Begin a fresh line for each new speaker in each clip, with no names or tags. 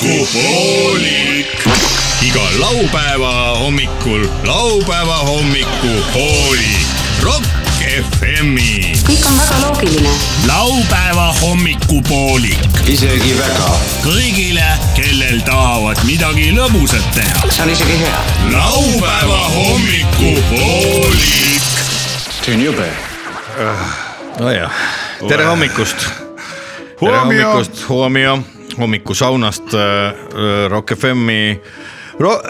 hommikupoolik . iga laupäeva hommikul laupäeva hommikupoolik . Rock FM-i .
kõik on väga loogiline .
laupäeva hommikupoolik
isegi väga .
kõigile , kellel tahavad midagi lõbusat teha .
see on isegi hea .
laupäeva hommikupoolik .
see on jube .
nojah , tere hommikust . tere
Huomio!
hommikust , Huomio , hommikusaunast äh, Rock FM-i Ro . Äh,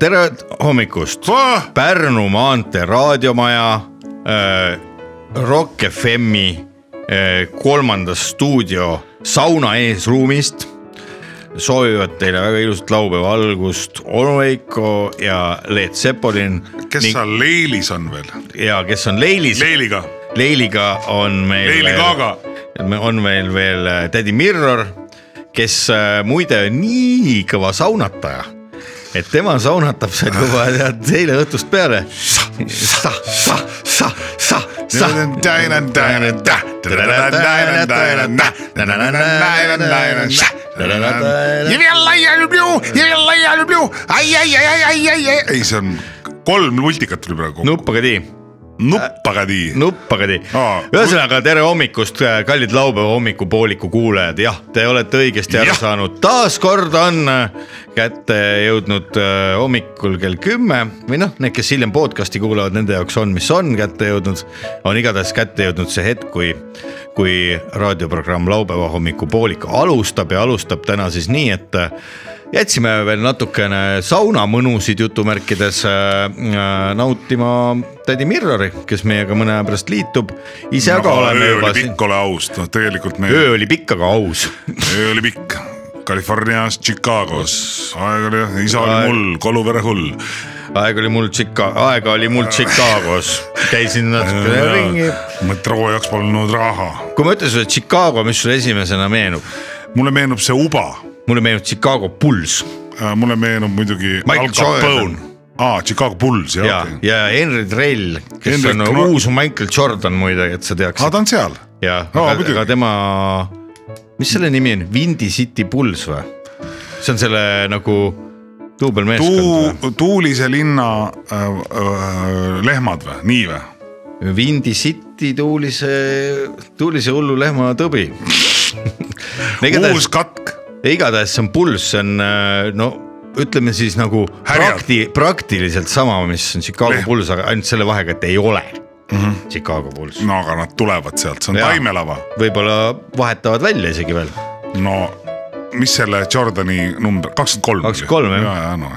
tere hommikust
Ah! ,
Pärnu maantee raadiomaja äh, , Rock FM-i äh, kolmandas stuudio sauna eesruumist soovivad teile väga ilusat laupäeva algust onu Veiko ja Leet Sepolin
kes Ning...
ning-
seal Leilis on veel ?
ja kes on Leilis .
Leiliga ,
Leiliga on meil .
Leili Kaaga. .
on meil veel tädi Mirror , kes äh, muide on nii kõva saunataja , et tema saunatab seal juba tead eile õhtust peale .
ei , see on kolm nultikat tuli praegu kokku .
nuppaga tii ,
nuppaga nii .
nuppaga tii
Aa. .
ühesõnaga tere hommikust , kallid laupäeva hommikupooliku kuulajad , jah , te olete õigesti aru
Jah.
saanud , taas kord on äh, kätte jõudnud äh, hommikul kell kümme või noh , need , kes hiljem podcast'i kuulavad , nende jaoks on , mis on kätte jõudnud , on igatahes kätte jõudnud see hetk , kui kui raadioprogramm laupäeva hommikupoolik alustab ja alustab täna siis nii , et äh, jätsime veel natukene saunamõnusid jutumärkides äh, äh, nautima tädi Mirrori , kes meiega mõne aja pärast liitub . ise aga oleme
öö
juba
oli
siin ,
pikk , ole aus , noh tegelikult me ,
öö oli pikk , aga aus .
öö oli pikk . Californias , Chicagos , aeg oli , isa oli
Aeg-
mul , koluvere hull .
aeg oli mul Chica- , aega oli mul Chicagos , käisin natukene ringi .
metroo jaoks polnud raha .
kui ma ütlen sulle Chicago , mis sulle esimesena meenub ?
mulle meenub see Uba
mulle meenub Chicago Bulls
Äh, mulle meenub muidugi
Michael
Al Capone
Jordan. ,
aa Chicago Bulls jah
ja ,
okei.
ja Henry Drell , kes
Henry
Henry on
Dra-
uus Michael Jordan muide , et sa teaksid
aa . ta on seal ,
ja
Aa,
no, , aga,
muidugi.
aga tema , mis selle nimi on , Windy City Bulls või ? see on selle nagu duubelmeeskond
Tuu- , Tuulise linna äh, äh, lehmad või , nii või ?
või ? Windy City tuulise , tuulise hullu lehma tõbi .
uus
igatahes ,
katk ,
igatahes see on Bulls , see on äh, no ütleme siis nagu
Härjad.
prakti- , praktiliselt sama , mis on Chicago
Lehm.
Bulls , aga ainult selle vahega , et ei ole mm -hmm. Chicago Bulls .
no aga nad tulevad sealt , see on
Jaa.
taimelava .
võib-olla vahetavad välja isegi veel .
no mis selle Jordani number , kakskümmend kolm .
23, jah.
ja , ja no .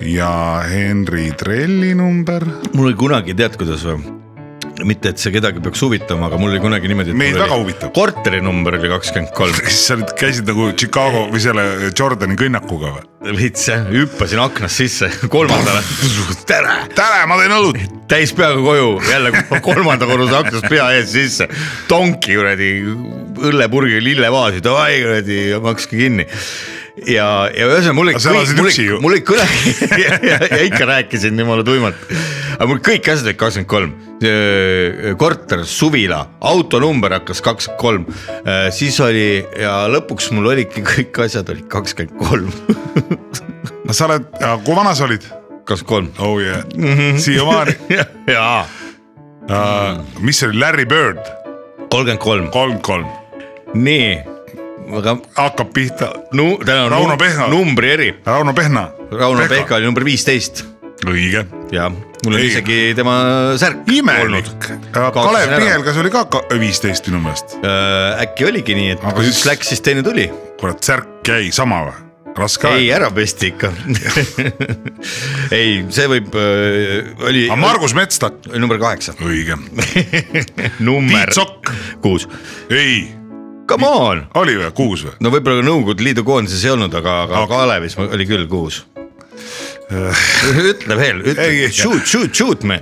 ja Henry Trelli number ,
mul oli kunagi , tead kuidas või ? mitte , et see kedagi peaks huvitama , aga mul oli kunagi niimoodi .
Meid väga huvitab.
korterinumber oli kakskümmend kolm ,
kas sa nüüd käisid nagu Chicago või selle Jordani kõnnakuga või ?
vits jah , hüppasin aknast sisse kolmandale , tere ,
tere , ma teen õlut
täis peaga koju , jälle kolmanda korruse aknast pea ees sisse , tonki kuradi õllepurgi lillevaasi , davai kuradi , makske kinni ja , ja ühesõnaga mul
Aga sa
oli
elasid ,
mul
üksi
oli
ju. ,
mul oli kõne ja, ja, ja ikka rääkisin jumala tuimalt . aga mul kõik asjad olid kakskümmend kolm , korter , suvila , autonumber hakkas kakskümmend kolm , siis oli ja lõpuks mul olidki kõik asjad olid kakskümmend kolm ,
no sa oled , kui vana sa olid ?
kakskümmend kolm .
oh yeah mm
Mm-hmm.
-hmm. , siiamaani
jaa ,
uh, .
Mm.
mis see oli , Larry Bird ,
kolmkümmend kolm ,
kolmkümmend kolm ,
nii , aga
hakkab pihta
nu, täna on
Rauno
num-
Pehna.
numbri eri ,
Rauno Pehna .
Rauno Pehka . oli number viisteist
õige .
ja mul on
Ei.
isegi tema särk olnud
imelik .. Äh, Kalev
Kaotasin ära. Äh,
Pihelgas oli ka ka- viisteist minu meelest ,
äkki oligi nii , et
Aga
kui
siis-
üks läks , siis teine tuli
kurat särk jäi sama või ? raske
ei ,
aeg .
ära pesti ikka . ei , see võib , oli
aga Margus Metstak ,
oli number kaheksa ,
õige .
number
Tiit Sokk ,
kuus .
ei ,
Come on ,
oli või , kuus või ?
no võib-olla ka Nõukogude Liidu koondises ei olnud , aga , aga
Aga-
Kalevis ma- oli küll kuus . ütle veel ,
Ei,
ütle
ei, , Ähm.
shoot , shoot , shoot me .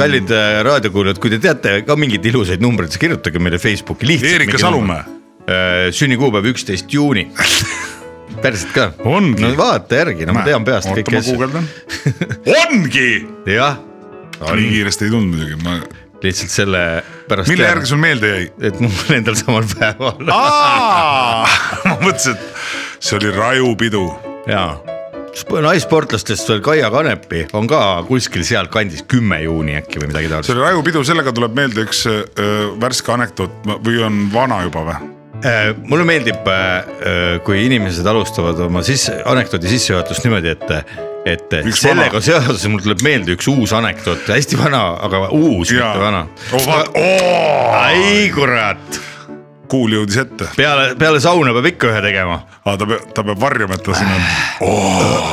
kallid äh, raadiokuulajad , kui te teate ka mingeid ilusaid numbreid , siis kirjutage meile Facebooki lihtsalt .
Erika Salumäe ,
sünnikuupäev üksteist juuni . päriselt ka ?
Ongi.
no vaata järgi , no ma tean peast
oota
kõiki
ma
asju .
guugeldan . ongi ,
jah , Mm.
nii kiiresti ei tulnud muidugi , ma ,
lihtsalt selle pärast .
mille järgi sul meelde jäi ?
et mul endal samal päeval .
aa , ma mõtlesin , et see oli raju pidu .
jaa , naissportlastest veel Kaia Kanepi on ka kuskil sealkandis , kümme juuni äkki või midagi
see
taolist .
oli raju pidu , sellega tuleb meelde üks öö, värske anekdoot ma- või on vana juba või ?
Äh, mulle meeldib , kui inimesed alustavad oma sisse , anekdoodi sissejuhatust niimoodi , et , et
Üks
üks sellega
vana.
seoses mul tuleb meelde üks uus anekdoot , hästi vana , aga uus , mitte vana .
Oh,
ai kurat ,
kuul jõudis ette ,
peale , peale sauna peab ikka ühe tegema .
aga ta peab , ta peab varjama , et ta siin on .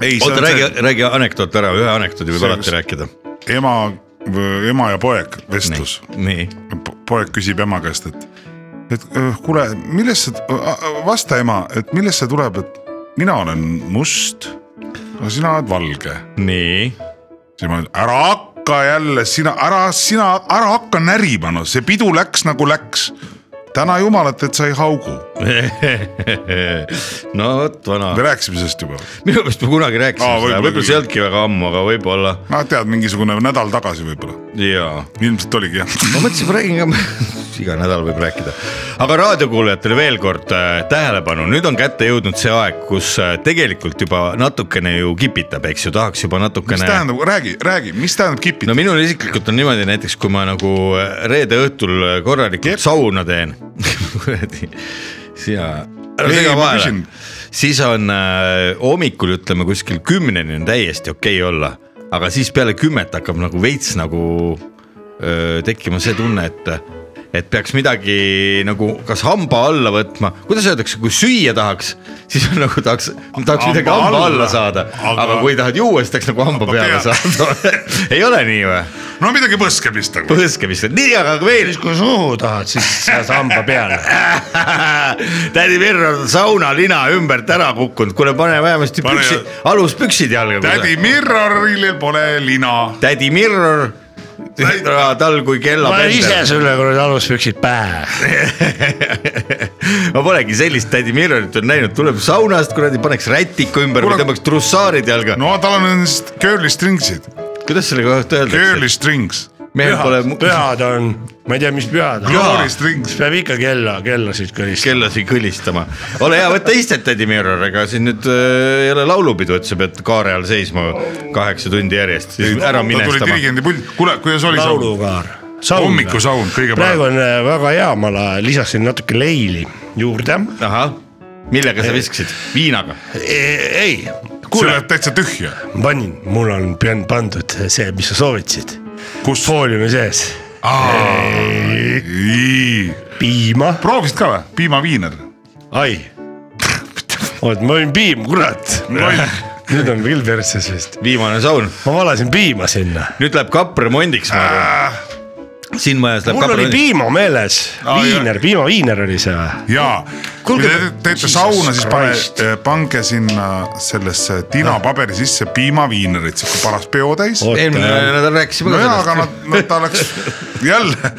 ei , see
oota ,
on
räägi
see ,,
räägi anekdoot ära , ühe anekdoodi võib
See-
alati rääkida .
ema , ema ja poeg vestlus .
nii ,
Po- poeg küsib ema käest , et , et öö, kuule , millest see , äh, vasta ema , et millest see tuleb , et mina olen must , aga sina oled valge .
nii ,
siis ma , ära hakka jälle sina , ära sina , ära hakka närima , no see pidu läks nagu läks . täna jumalat , et sa ei haugu ,
no vot , vana
me rääkisime sellest juba .
minu meelest me kunagi rääkisime
Aa,
seda ,
võib-olla
võib-olla
küll.
see ei olnudki väga ammu , aga võib-olla
no Noh, tead , mingisugune nädal tagasi võib-olla ,
jaa .
ilmselt oligi jah .
ma mõtlesin , ma räägin ka , iga nädal võib rääkida . aga raadiokuulajatele veel kord äh, tähelepanu , nüüd on kätte jõudnud see aeg , kus äh, tegelikult juba natukene ju kipitab , eks ju , tahaks juba
mis
natukene .
tähendab , räägi , räägi , mis tähendab kipid
no
no, ?
minul isiklikult on niimoodi näiteks , kui ma nagu reede õhtul äh, korralikult
Jep.
sauna teen , kuradi , siia , ära
Ei,
sega
ma
vahele
küsin. ,
siis on äh, hommikul ütleme kuskil kümneni on täiesti okei olla , aga siis peale kümmet hakkab nagu veits nagu öö, tekkima see tunne , et , et peaks midagi nagu kas hamba alla võtma , kuidas öeldakse , kui süüa tahaks , siis on nagu tahaks , tahaks midagi
Hamba
hamba
alla.
alla saada ,
Aga-
aga kui tahad juua , siis tahaks nagu hamba
Hamba
peale
peale.
saada . ei ole nii või ?
no midagi põskemist nagu .
põskemist , nii aga veel .
siis kui suhu tahad , siis saad hamba peale .
tädi Mirro on saunalina ümbert ära kukkunud , kuule pane vähemasti
Pane-
püksi , aluspüksid jalga .
tädi Mirroril pole lina
tädi Mirror , tal kui kella
ma ise
pendel .
sulle kuradi aluspüksid pähe .
ma polegi sellist tädi Mirrorit veel näinud , tuleb saunast kuradi , paneks rätiku ümber
Kuule-
või tõmbaks trussaarid jalga no. .
no tal on nendest curly stringsid ,
kuidas selle kohta
curly
öeldakse ?
strings ,
mehel pole mu-
pühad on , ma ei tea , mis pühad on .
curly strings .
peab ikka kella , kellasid kõlistama .
kella siin kõlistama . ole hea , võta istet , tädi Mirror , ega siin nüüd äh, ei ole laulupidu , et sa pead kaare all seisma kaheksa tundi järjest , siis ära
ta tuli
minestama .
dirigendi puldi , kuule , kuidas oli see ,
laulukaar .
hommikusaun kõige
praegu
parem .
on äh, väga hea , ma la- lisasin natuke leili juurde .
ahah , millega sa viskasid ? viinaga .
E, ei ,
see
kuule ,
läheb täitsa tühja ,
panin , mul on pan- pandud see , mis sa soovitasid . kus ? fooliumi sees . piima ,
proovisid ka või , piimaviiner ?
ai . oot , ma võin piim , kurat . nüüd on küll perses vist .
viimane saun ,
ma valasin piima sinna .
nüüd läheb kapp remondiks , ma arvan . siin majas läheb
Ah. mul
kapp
oli
remondiks .
piima meeles ,
Aa,
viiner , piimaviiner oli see või ?
jaa , kui
Kuulge-
te te- teete
Jesus
sauna , siis pane eh,
Christ. ,
pange sinna sellesse tinapaberi sisse piimaviinerit , sihuke paras peotäis .
Oi.
eelmine
Oota.
nädal rääkisime
no
ka
jaa , aga
sellest .
nad , nad , ta läks jälle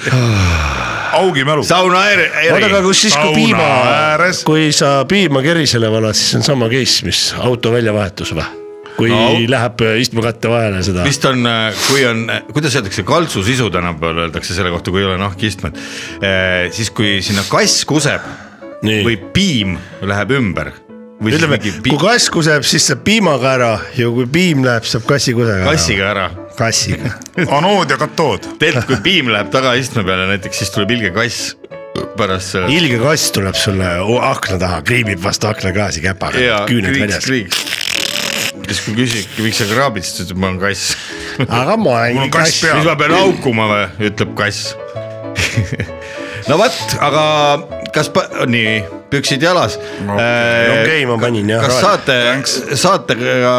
augi mälu .
sauna ääri ,
oota , aga
ääri .
kus siis , kui
Sauna
piima
ääres. ,
kui sa piima kerisele valad , siis on sama case , mis auto väljavahetus või ? kui no.
No.
läheb istmekatte vahele seda .
vist on , kui on , kuidas öeldakse , kaltsusisu tänapäeval öeldakse selle kohta , kui ei ole nahkistmed . siis kui sinna kass kuseb või
nii ,
piim läheb ümber . või siis
ütleme ,
mingi
kui
pi-
kass kuseb , siis saab piimaga ära ja kui piim läheb , saab kassi kusega ära .
kassiga ära .
kassiga .
anood ja katood .
tegelikult , kui piim läheb tagaistme peale näiteks , siis tuleb ilge kass pärast selle .
ilge kass tuleb sulle o- akna taha , kriibib vastu aknaklaasi käpaga ,
jaa ,
küüned
kriiks ,
väljas .
kriiks . siis kui küsibki , miks sa kraabid , siis ta ütleb , ma olen kass .
aga ma
Mul on
olen
kass
kass .
peal.
siis ma pean haukuma või , ütleb kass . no vot , aga kas , nii , püksid jalas no, .
okei , ma panin jah .
kas saate , saatega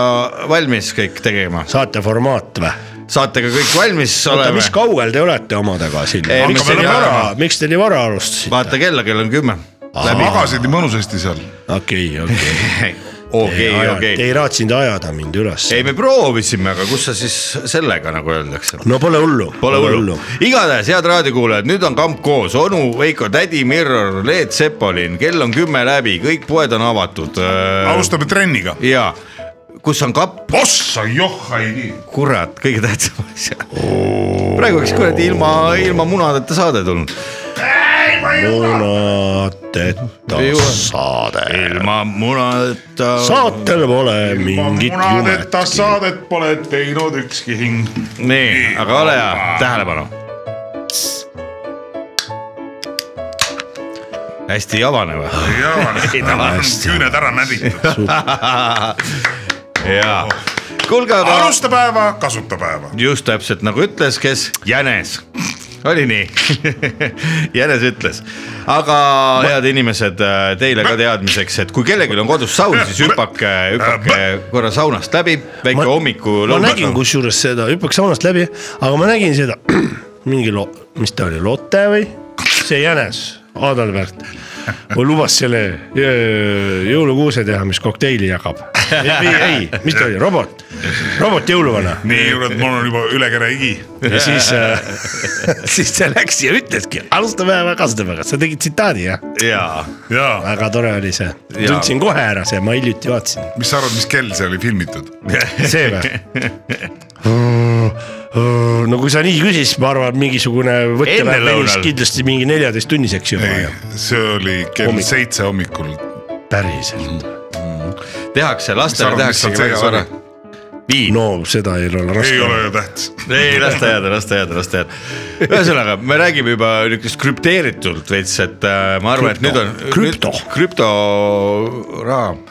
valmis kõik tegema ,
saate formaat või ?
saatega kõik valmis
oota ,
oleme
mis ? kaugel te olete omadega siin
Ei, ?
miks
me
te nii
siin
vara
oleme. ,
miks te nii vara alustasite ?
vaata kella , kell on kümme .
magasid nii mõnusasti seal .
okei , okei .
okei ,
Te
okei .
ei raatsinud ajada mind üles .
ei , me proovisime , aga kus sa siis sellega nagu öeldakse ?
no pole hullu .
Pole hullu . igatahes , head raadiokuulajad , nüüd on kamp koos , onu Veiko , tädi Mirror , Leet Sepolin , kell on kümme läbi , kõik poed on avatud .
alustame trenniga .
ja kus on kapp ,
ossa johhaidi .
kurat , kõige tähtsam asja . praegu oleks kuradi ilma , ilma munadeta saade tulnud .
munad mõteta saade .
ilma munadeta .
saatel pole mingit jumet .
munadeta saadet pole teinud ükski hing .
nii , aga ole hea , tähelepanu . hästi ei avane või ?
ei , tal on küüned ära näditud .
jaa . kuulge , aga
alusta päeva , kasuta päeva .
just täpselt nagu ütles , kes jänes , oli nii , jänes ütles , aga head inimesed , teile ka teadmiseks , et kui kellelgi on kodus saun , siis hüppake , hüppake korra saunast läbi , väike
ma nägin
hommikulõuna .
kusjuures seda , hüppaks saunast läbi , aga ma nägin seda mingi lo- , mis ta oli , Lotte või ? see jänes , Adalbert , lubas selle öö, jõulukuuse teha , mis kokteili jagab . ei , ei , mis ta oli , robot , robot jõuluvana .
nii , kurat , mul on juba üle kere higi .
ja siis äh, , siis ta läks ja ütleski , alustame ja kasutame , kas sa tegid tsitaadi jah ?
jaa ,
jaa ,
väga tore oli see ,
Jaa.
tundsin kohe ära see , ma hiljuti vaatasin ,
mis sa arvad , mis kell see oli filmitud ?
see või ? no kui sa nii küsid , siis ma arvan , mingisugune võttepäev
Enne
venis
lõunal.
kindlasti mingi neljateisttunniseks juba
ei
ja ,
see oli kell
Hommikul.
seitse hommikul .
päriselt .
tehakse
Mis
lastele
arvad, mis
tehaksegi
seal
väga
sees
vara . viin ,
no seda ei ole
ei
raske
ole . ju tähtis .
ei las ta jääda , las ta jääda , las ta jääda . ühesõnaga , me räägime juba niukest krüpteeritult veits , et äh, ma arvan , et nüüd on .
Krüpto.
krüptoraam ,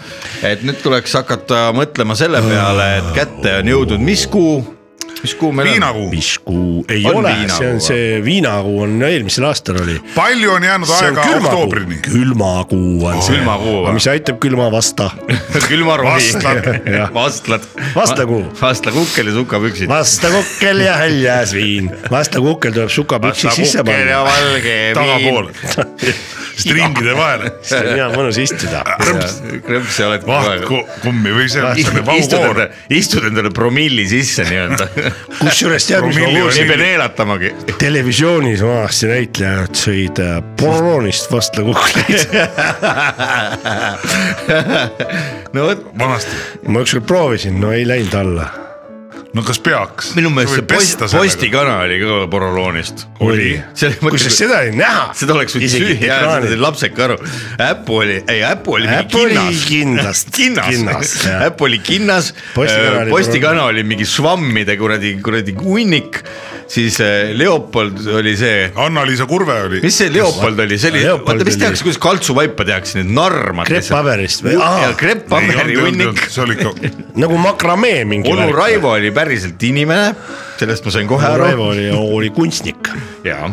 et nüüd tuleks hakata mõtlema selle peale , et kätte on jõudnud , mis kuu , mis kuu meil on ?
viinakuu ,
mis kuu , ei
On
on ole ,
viinakuu
see on
või?
see viinakuu on eelmisel aastal oli .
palju on jäänud
see on
aega
külmakuu
oktoobrini ,?
külmakuu on see ,
külmakuu või?
mis aitab külma vasta
külmarohi
Vastlad. ,
vastlad .
Vastlakuu.
vastlakukkel ja sukapüksid .
vasta kukkel ja häljas viin , vasta kukkel tuleb sukapüksid sisse
vastlakukkel ja
panna .
valge
tagapool
viin .,
stringide vahele .
siis on hea mõnus istuda .
krõps ja oled kogu aeg .
vahtkummi või see , mis oli
istud
vahukoor .
endale , istud endale promilli sisse nii-öelda
kusjuures tead , mis ma
Promilli
ei
kuulsin
pea neelatamagi .
televisioonis vanasti näitlejad sõid äh, poroonist vasta kukleid .
no vot ,
vanasti ,
ma ükskord proovisin , no ei läinud alla .
no kas peaks ?
minu meelest see post , postikana oli ka poroloonist .
oli , kusjuures seda ei näha .
seda oleks võinud süüa , seda sai lapsed ka aru . äpp oli , ei äpp oli mingi
Äpp oli
kinnas .
kindlast-
kinnas
kinnas, , jah.
äpp oli kinnas
Postikana oli .
postikana oli mingi švammide kuradi , kuradi hunnik , siis eh, Leopold oli see
Anna-Liisa Kurve oli .
mis see Leopold oli , see oli ,
Leopold
oota , mis
oli-
tehakse , kuidas kaltsuvaipa tehakse , need narmad .
Krepppaberist või? Aa.
ja krepppaberi hunnik .
see oli ikka
nagu makramee mingi .
onu . Raivo oli päriselt inimene , sellest ma sain kohe aru .
Raivo oli , oli kunstnik .
jaa ,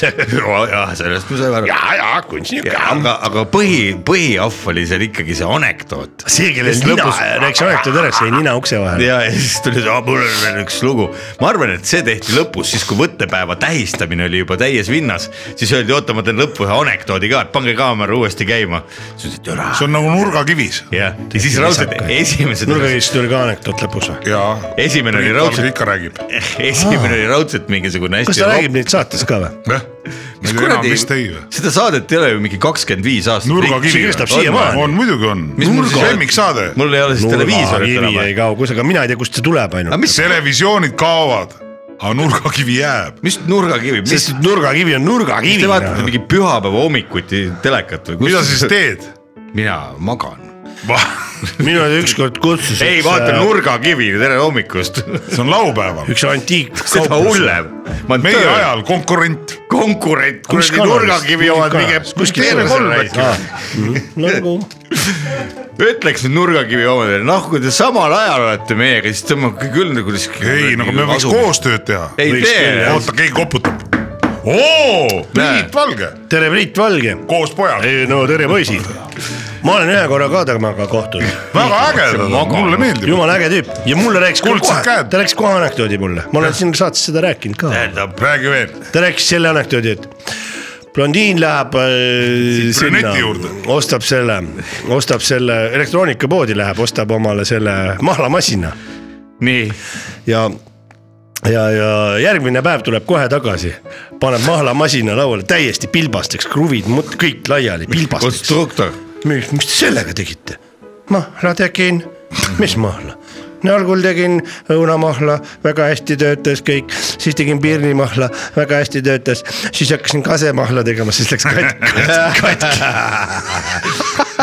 jah , sellest ma sain aru .
ja , ja kunstnik .
aga , aga põhi , põhiahv oli seal ikkagi see anekdoot .
see , kellel nina , rääkis anekdoot ära , see jäi nina ukse vahele .
ja , ja siis tuli see , mul on veel üks lugu . ma arvan , et see tehti lõpus , siis kui võttepäeva tähistamine oli juba täies vinnas , siis öeldi , oota , ma teen lõppu ühe anekdoodi ka , et pange kaamera uuesti käima . siis ütles , et ära .
see on nagu nurgakivis
jah , ja siis raudselt esimesed ,
nurgakiirist tuli ka anekdoot lõpus või ?
ja .
Esimene oli raudselt-
ikka räägib .
esimene oli raudselt mingisugune
kas
hästi .
ta räägib neid saates ka või ?
jah ,
mis
enam
kuradi
vist ei või ?,
seda saadet ei ole ju mingi kakskümmend viis aastat .
see
nurgakivi
kestab . siiamaani.
on muidugi on ,
Mis mul siis-
lemmiksaade ,
mul ei ole siis televiisorit
nurgakivi jäi
enam .
kaugus , aga mina ei tea , kust see tuleb
aga
ainult .
mis ,
televisioonid kaovad , aga nurgakivi jääb .
mis nurgakivi , mis
sest , nurgakivi on
mis
nurgakivi noh.
te . vaatate mingi pühapäeva hommikuti telekat või ?
mida sa siis ? teed ?
mina magan .
minu ükskord kutsus .
ei vaata . nurgakivi , tere hommikust .
äh, see on laupäeval ,
üks antiikkauplus .
seda . hullem .
meie . ajal konkurent ,
konkurent , kuradi nurgakivi omad mingi .
nagu
ütleks nüüd nurgakivi omadele , noh , kui te samal ajal olete meiega , siis tõmmake küll nagu .
ei nagu me võiks . koostööd teha .
ei
Võiks küll,
tee
jah. .
oota , keegi koputab . oo , Priit Valge
tere , Priit Valge .
koos pojaga ,
no tere , poisid . ma olen ühe korra ka temaga kohtunud .
väga ägedad , mulle meeldib .
jumala äge tüüp ja mulle rääkis küll
Kuldsed
kohe
käed. ,
ta rääkis kohe anekdoodi mulle , ma olen siin saates seda rääkinud ka .
tähendab ,
räägi veel ,
ta rääkis selle anekdoodi , et blondiin läheb äh, sinna
brüneti juurde. ,
ostab selle , ostab selle elektroonikapoodi läheb , ostab omale selle mahlamasina
nii
ja , ja , ja järgmine päev tuleb kohe tagasi , paneb mahlamasina lauale täiesti pilbasteks , kruvid , kõik laiali , pilbasteks .
konstruktor ,
miks , mis te sellega tegite ? mahla tegin , mis mahla ? no algul tegin õunamahla , väga hästi töötas kõik , siis tegin pirnimahla , väga hästi töötas , siis hakkasin kasemahla tegema , siis läks katki , katki .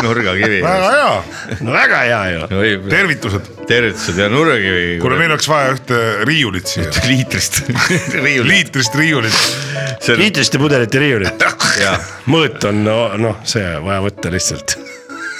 nurgakivi .
väga hea ,
no väga hea ju .
tervitused .
tervitused ja nurgakivi .
kuule , meil oleks vaja ühte riiulit siia ,
liitrist . riiul .
liitrist riiulit .
liitriste pudelite riiulit ,
jah ,
mõõt on no, noh , see vaja võtta lihtsalt .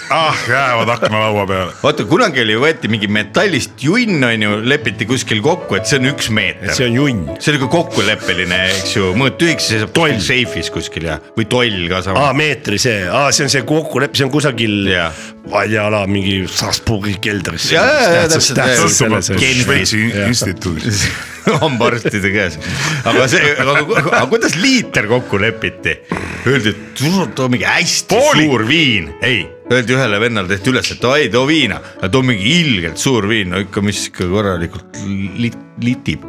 ah , jäävad aknalaua peale .
vaata kunagi oli , võeti mingi metallist junn onju , lepiti kuskil kokku , et see on üks meeter .
see on junn .
see oli ka kokkuleppeline , eks ju , mõõtühik seisab toll seifis kuskil ja , või toll ka sama
aa , meetri see , aa , see on see kokkulepe , see on kusagil
Jah. ,
ma ei tea , ala mingi Strasbourgi keldris .
Jaa, jaa, jaa, täpselt,
sõltub
Genfis.
Šveitsi instituudist .
hambaarstide käes . aga see , aga, aga kuidas liiter kokku lepiti ? Öeldi , et tule- too mingi hästi Pooli. suur viin , ei , öeldi ühele vennale tehti üles , et davai , too viina , too mingi ilgelt suur viin , no ikka , mis ikka korralikult lit- , litib .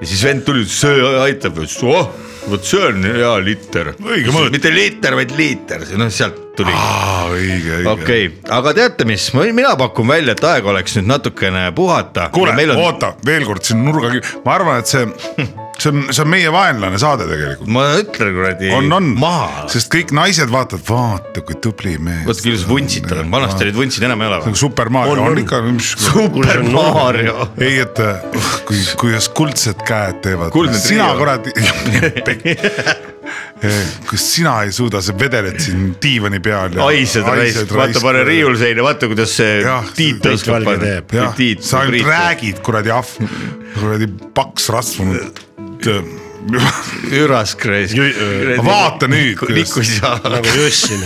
ja siis vend tuli , see aitab , ütles oh , vot see on hea liiter .
Õige mõõt.
mitte liiter , vaid liiter , noh sealt tuli
aa , Ah, õige , õige .
okei okay. , aga teate mis , mina pakun välja , et aeg oleks nüüd natukene puhata .
kuule
on...
on... , oota veel kord siin nurga , ma arvan , et see , see on , see on meie vaenlane saade tegelikult .
ma ütlen kuradi .
on , on
maha ,
sest kõik naised vaatavad , vaata kui tubli mees .
vaata kuidas vuntsid tal on , vanasti olid vuntsid enam ei ole
nagu . Super Mario
On,
on,
on.
on ikka , mis .
super Mario .
ei , et uh, kui , kuidas kuldsed käed teevad .
Kuldne trio.
sina kuradi kas sina ei suuda , sa vedeled siin diivani peal .
haised raisk , vaata pane . riiulseina , vaata kuidas see
Jah,
Tiit
kõik
oskab
valge
panna
teeb. .
jah , sa ainult . räägid kuradi ahv , kuradi paks rasvunud . äh,
ürask raisk
Jü- .
vaata nüüd, kuidas-
nikus ja .
äh, nagu Jõssin .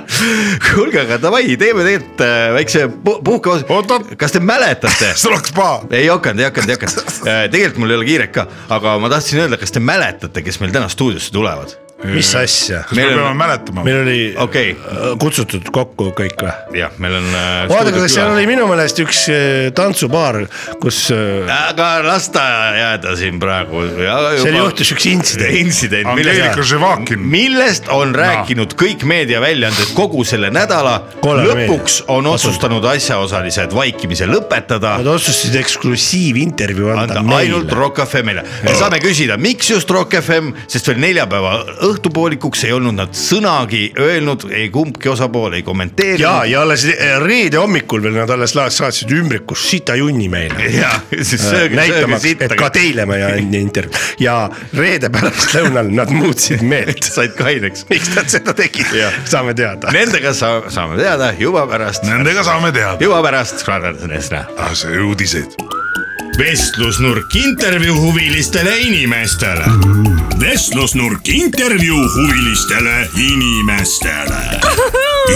kuulge , aga davai , teeme tegelikult äh, väikse pu- puhkeosa
Oot-oot. .
kas te mäletate ?
sul oleks paha .
ei hakanud , ei hakanud , ei hakanud . tegelikult mul ei ole kiiret ka , aga ma tahtsin öelda , kas te mäletate , kes meil täna stuudiosse tulevad ?
mis asja ?
kas me
Meil on-
peame mäletama ?
meil oli
Okei.
äh, kutsutud kokku kõik või ?
jah , meil on . äh,
vaadake , kas seal oli . minu meelest üks äh, tantsupaar , kus äh,
aga las ta jääda siin praegu .
seal juhtus üks intsident .
intsident ,
Angeelika
millest ,
Živakin ,
millest on rääkinud kõik meediaväljaanded kogu selle nädala .
Kolm
lõpuks on otsustanud asjaosalised vaikimise lõpetada
Nad otsustasid eksklusiivintervjuu anda
anda ainult
meile .
Rock FM-ile . me saame küsida , miks just Rock FM , sest veel neljapäeva õhtupoolikuks ei olnud nad sõnagi öelnud , ei kumbki osapool ei
ja ,
kommenteerinud .
ja alles reede hommikul veel nad alles la- saatsid ümbrikus sita junni meile .
ja siis sööge , sööge
näitamaks , et ka
sitta .
teile me andsime intervjuu ja reede pärastlõunal nad muutsid meelt .
said kaineks .
miks nad seda tegid
Jah. ,
saame teada .
Nendega sa- saame teada juba pärast ,
nendega saame teada Ah,
juba pärast . vestlusnurk
see uudiseid .
intervjuu huvilistele inimestele .
vestlusnurk intervjuu huvilistele inimestele .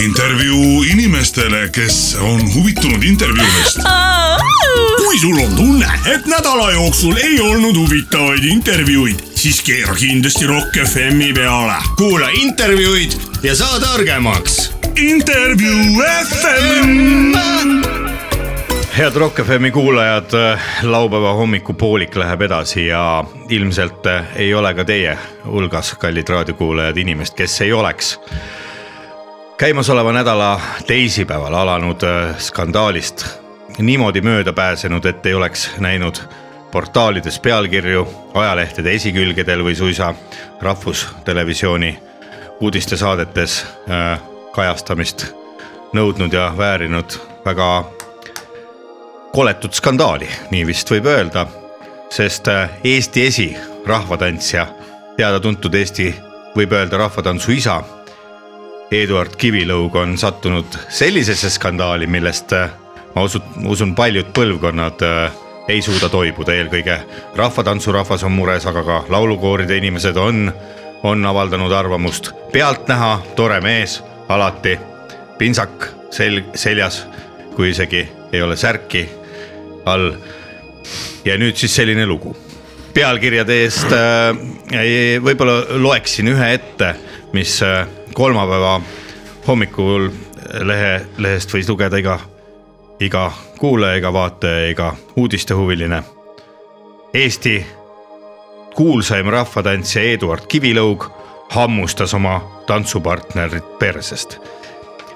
intervjuu inimestele , kes on huvitunud intervjuudest .
kui sul on tunne , et nädala jooksul ei olnud huvitavaid intervjuuid , siis keera kindlasti Rock FM-i peale .
kuula intervjuud ja saa targemaks
intervjuu FM .
head Rock FM-i kuulajad , laupäeva hommikupoolik läheb edasi ja ilmselt ei ole ka teie hulgas , kallid raadiokuulajad , inimest , kes ei oleks käimasoleva nädala teisipäeval alanud äh, skandaalist niimoodi mööda pääsenud , et ei oleks näinud portaalides pealkirju , ajalehtede esikülgedel või suisa rahvustelevisiooni uudistesaadetes äh, kajastamist nõudnud ja väärinud väga koletut skandaali , nii vist võib öelda , sest äh, Eesti esi rahvatantsja , teada-tuntud Eesti , võib öelda rahvatantsu isa , Eduard Kivilõug on sattunud sellisesse skandaali , millest äh, ma usun , usun , paljud põlvkonnad äh, ei suuda toibuda , eelkõige rahvatantsurahvas on mures , aga ka laulukooride inimesed on , on avaldanud arvamust . pealtnäha tore mees alati , pintsak sel- , seljas , kui isegi ei ole särki all . ja nüüd siis selline lugu . pealkirjade eest äh, ei- võib-olla loeksin ühe ette , mis äh, kolmapäeva hommikul lehe , lehest võis lugeda iga , iga kuulaja , iga vaataja , iga uudistehuviline . Eesti kuulsaim rahvatantsija Eduard Kivilõug hammustas oma tantsupartnerit persest .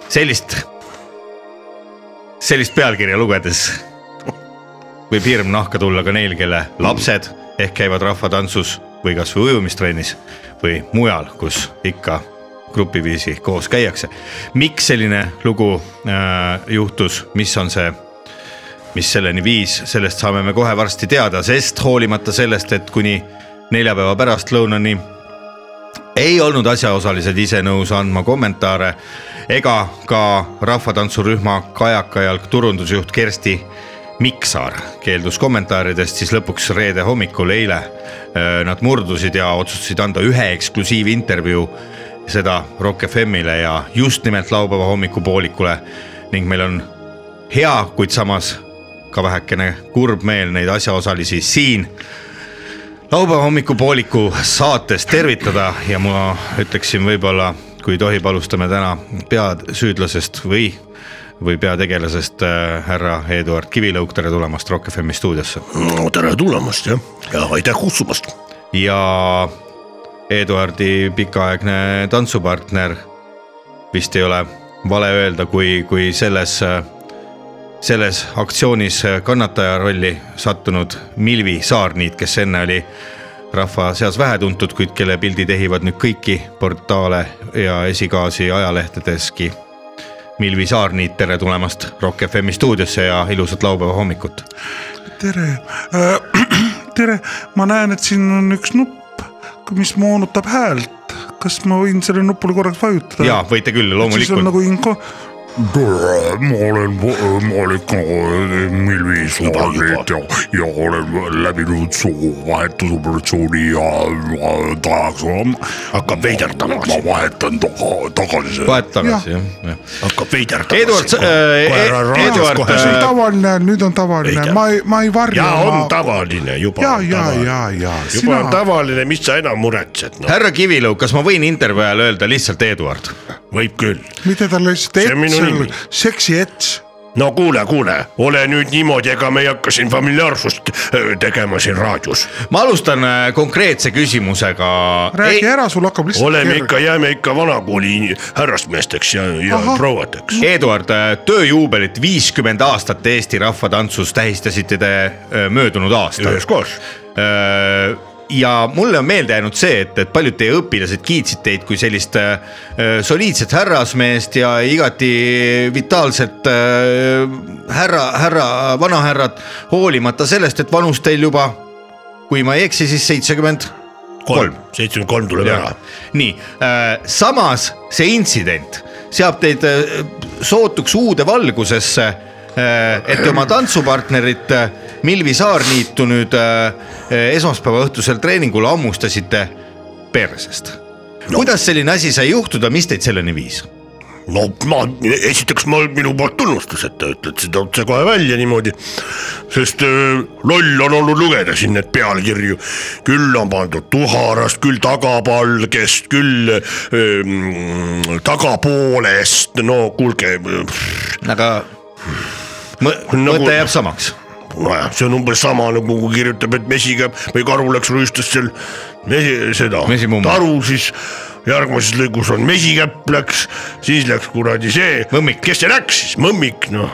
sellist , sellist pealkirja lugedes võib hirm nahka tulla ka neil , kelle lapsed ehk käivad rahvatantsus või kasvõi ujumistrennis või mujal , kus ikka grupiviisi koos käiakse . miks selline lugu äh, juhtus , mis on see , mis selleni viis , sellest saame me kohe varsti teada , sest hoolimata sellest , et kuni neljapäeva pärastlõunani ei olnud asjaosalised ise nõus andma kommentaare ega ka rahvatantsurühma Kajakajalg turundusjuht Kersti Miksaar keeldus kommentaaridest , siis lõpuks reede hommikul , eile öö, nad murdusid ja otsustasid anda ühe eksklusiivintervjuu seda Rock FM-ile ja just nimelt laupäeva hommikupoolikule ning meil on hea , kuid samas ka vähekene kurb meel neid asjaosalisi siin laupäeva hommikupooliku saates tervitada ja ma ütleksin võib-olla , kui tohib , alustame täna peasüüdlasest või , või peategelasest äh, härra Eduard Kivilõug , tere tulemast Rock FM-i stuudiosse .
no tere tulemast jah , ja aitäh kutsumast .
ja Eduardi pikaaegne tantsupartner vist ei ole vale öelda , kui , kui selles , selles aktsioonis kannataja rolli sattunud Milvi Saarniit , kes enne oli rahva seas vähetuntud , kuid kelle pildid ehivad nüüd kõiki portaale ja esikaasi ajalehtedeski . Milvi Saarniit , tere tulemast Rock FM-i stuudiosse ja ilusat laupäeva hommikut .
tere , tere , ma näen , et siin on üks nupp , mis moonutab häält . kas ma võin sellele nupule korraks vajutada ?
ja võite küll ,
siis
loomulikult .
on nagu inko ,
tere , ma olen , ma olen ka äh, Milvi Suurliit ja , ja olen läbinud soovahetusoperatsiooni ja ja tahaks olla . hakkab veiderdama . ma vahetan taga , tagasi selle .
vahet tagasi jah ja. , jah .
hakkab veiderdama .
Eduard , Eduard , äh,
see on tavaline , nüüd on tavaline
Ei , tea.
ma ei , ma ei varja .
ja on tavaline juba .
ja , ja , ja , ja
juba on
sina ,
tavaline , mis sa enam muretsed , noh ,
härra Kivilõu , kas ma võin intervjuu ajal öelda lihtsalt Eduard ?
võib küll .
mitte talle lihtsalt
See on minu nimi.
ets , seksi ets .
no kuule , kuule , ole nüüd niimoodi , ega me ei hakka siin familiaarsust öö, tegema siin raadios .
ma alustan äh, konkreetse küsimusega . E-
räägi ära , sul hakkab lihtsalt .
oleme ikka , jääme ikka vanakooli ini- härrasmeesteks ja , ja
Ahah.
prouadeks .
Eduard , tööjuubelit viiskümmend aastat Eesti rahvatantsus tähistasite te äh, möödunud aastal .
üheskoos .
Öö, ja mulle on meelde jäänud see , et , et paljud teie õpilased kiitsid teid kui sellist öö, soliidset härrasmeest ja igati vitaalset öö, härra , härra , vanahärrat , hoolimata sellest , et vanus teil juba , kui ma ei eksi , siis seitsekümmend
kolm , seitsekümmend kolm tuleb ära .
nii , samas see intsident seab teid äh, sootuks uude valgusesse , et te oma tantsupartnerit äh, Milvi Saarniitu nüüd äh, esmaspäeva õhtusel treeningul hammustasite persest no. . kuidas selline asi sai juhtuda , mis teid selleni viis ?
no ma , esiteks ma , minu poolt tunnustus , et te ütlete seda otsekohe välja niimoodi . sest öö, loll on olnud lugeda siin neid pealkirju , küll on pandud tuharast , küll tagapalgest , küll öö, mm, tagapoolest , no kuulge , äh,
aga mõ-
Nagu-
mõte jääb samaks .
nojah , see on umbes sama nagu kui kirjutab , et mesiga või karu läks rüüstas seal mesi, seda
Mesimumma.
taru , siis järgmises lõigus on mesikäpp läks , siis läks kuradi see .
Mõmmik.
kes see läks siis , mõmmik noh .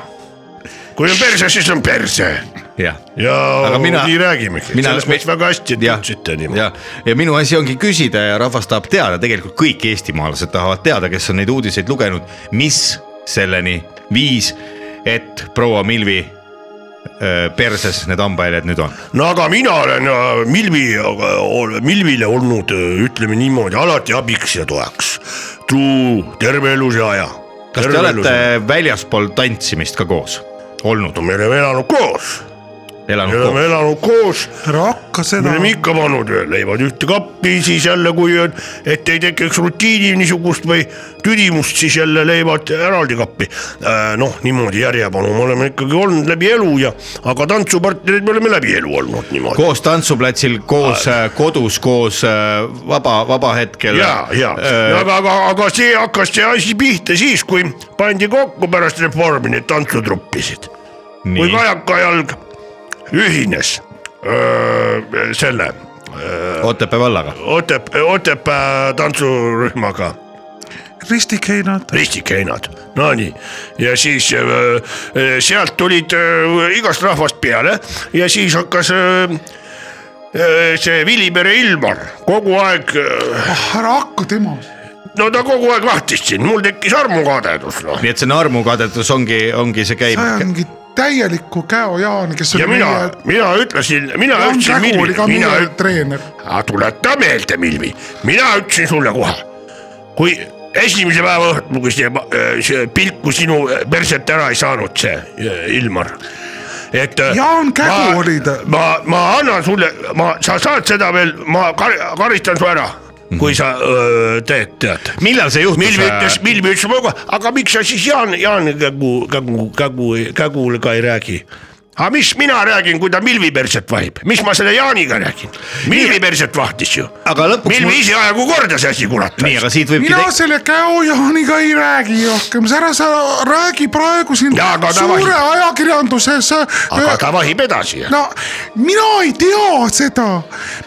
kui on perse , siis on perse
jah
ja
Aga
mina,
mina-
nii räägimegi ,
mina-
selles mõttes väga hästi , et
jah ,
ütlesite niimoodi .
ja , ja minu asi ongi küsida ja rahvas tahab teada , tegelikult kõik eestimaalased tahavad teada , kes on neid uudiseid lugenud , mis selleni viis , et proua Milvi öö, perses need hambahäljed nüüd on .
no aga mina olen äh, Milvi , Milvile olnud , ütleme niimoodi , alati abiks ja toeks . truu terve eluse aja .
kas te olete ? väljaspool tantsimist ka koos olnud
no , me oleme elanud koos me
elanud
oleme
koos ?
elanud koos ,
ära hakka
me
seda .
oleme ikka pannud leivad ühte kappi , siis jälle , kui on , et ei tekiks rutiini niisugust või tüdimust , siis jälle leivad eraldi kappi . noh , niimoodi järjepanu me oleme ikkagi olnud läbi elu ja , aga tantsupartnerid me oleme läbi elu olnud niimoodi .
koos tantsuplatsil , koos äh, kodus , koos äh, vaba , vabahetkel .
ja , ja ,
Äh.
aga , aga , aga see hakkas see asi pihta siis , kui pandi kokku pärast reformi need tantsutruppisid kui
nii ,
kajakajalg ühines öö, selle
Otepää vallaga .
Otep- , Otepää äh, tantsurühmaga .
ristikeinad .
ristikeinad , nonii . ja siis äh, äh, sealt tulid äh, igast rahvast peale ja siis hakkas äh, äh, see Vilipere Ilmar kogu aeg äh, ,
ära hakka temast .
no ta kogu aeg vahtis sind , mul tekkis armukadedus noh .
nii et see narmukadetus ongi , ongi see käib .
see ongi täieliku käojaani , kes oli
ja mina , mina ütlesin , mina
Jaan
ütlesin
Kägu oli
Milvi ,
ka
mina
meie
ütlesin ,
treener .
tuleta meelde , Milvi , mina ütlesin sulle kohe , kui esimese päeva õhtul , kui see, äh, see pilku sinu äh, perset ära ei saanud , see äh, Ilmar , et .
Jaan Kägu oli ta.
ma , ma annan sulle , ma , sa saad seda veel , ma kar, karistan su ära , kui sa öö, teed , tead .
millal see juhtus ? äh?
Milvi ütles , Milvi ütles mulle kohe , aga miks sa siis Jaan , Jaan Kägu , Kägu , Kägu , Kägule ka ei räägi . aga mis mina räägin , kui ta Milvi perset vahib , mis ma selle Jaaniga räägin ? Milvi perset vahtis ju .
Aga lõpuks
Milvi
mul-
mul... ise ajagu korda see asi , kurat .
nii , aga siit võibki
mina
tek- ,
selle käojaaniga ei räägi rohkem , ära sa räägi praegu siin
Jaa, aga ta
suure
vahib.
ajakirjanduses .
aga ta vahib edasi .
no mina ei tea seda ,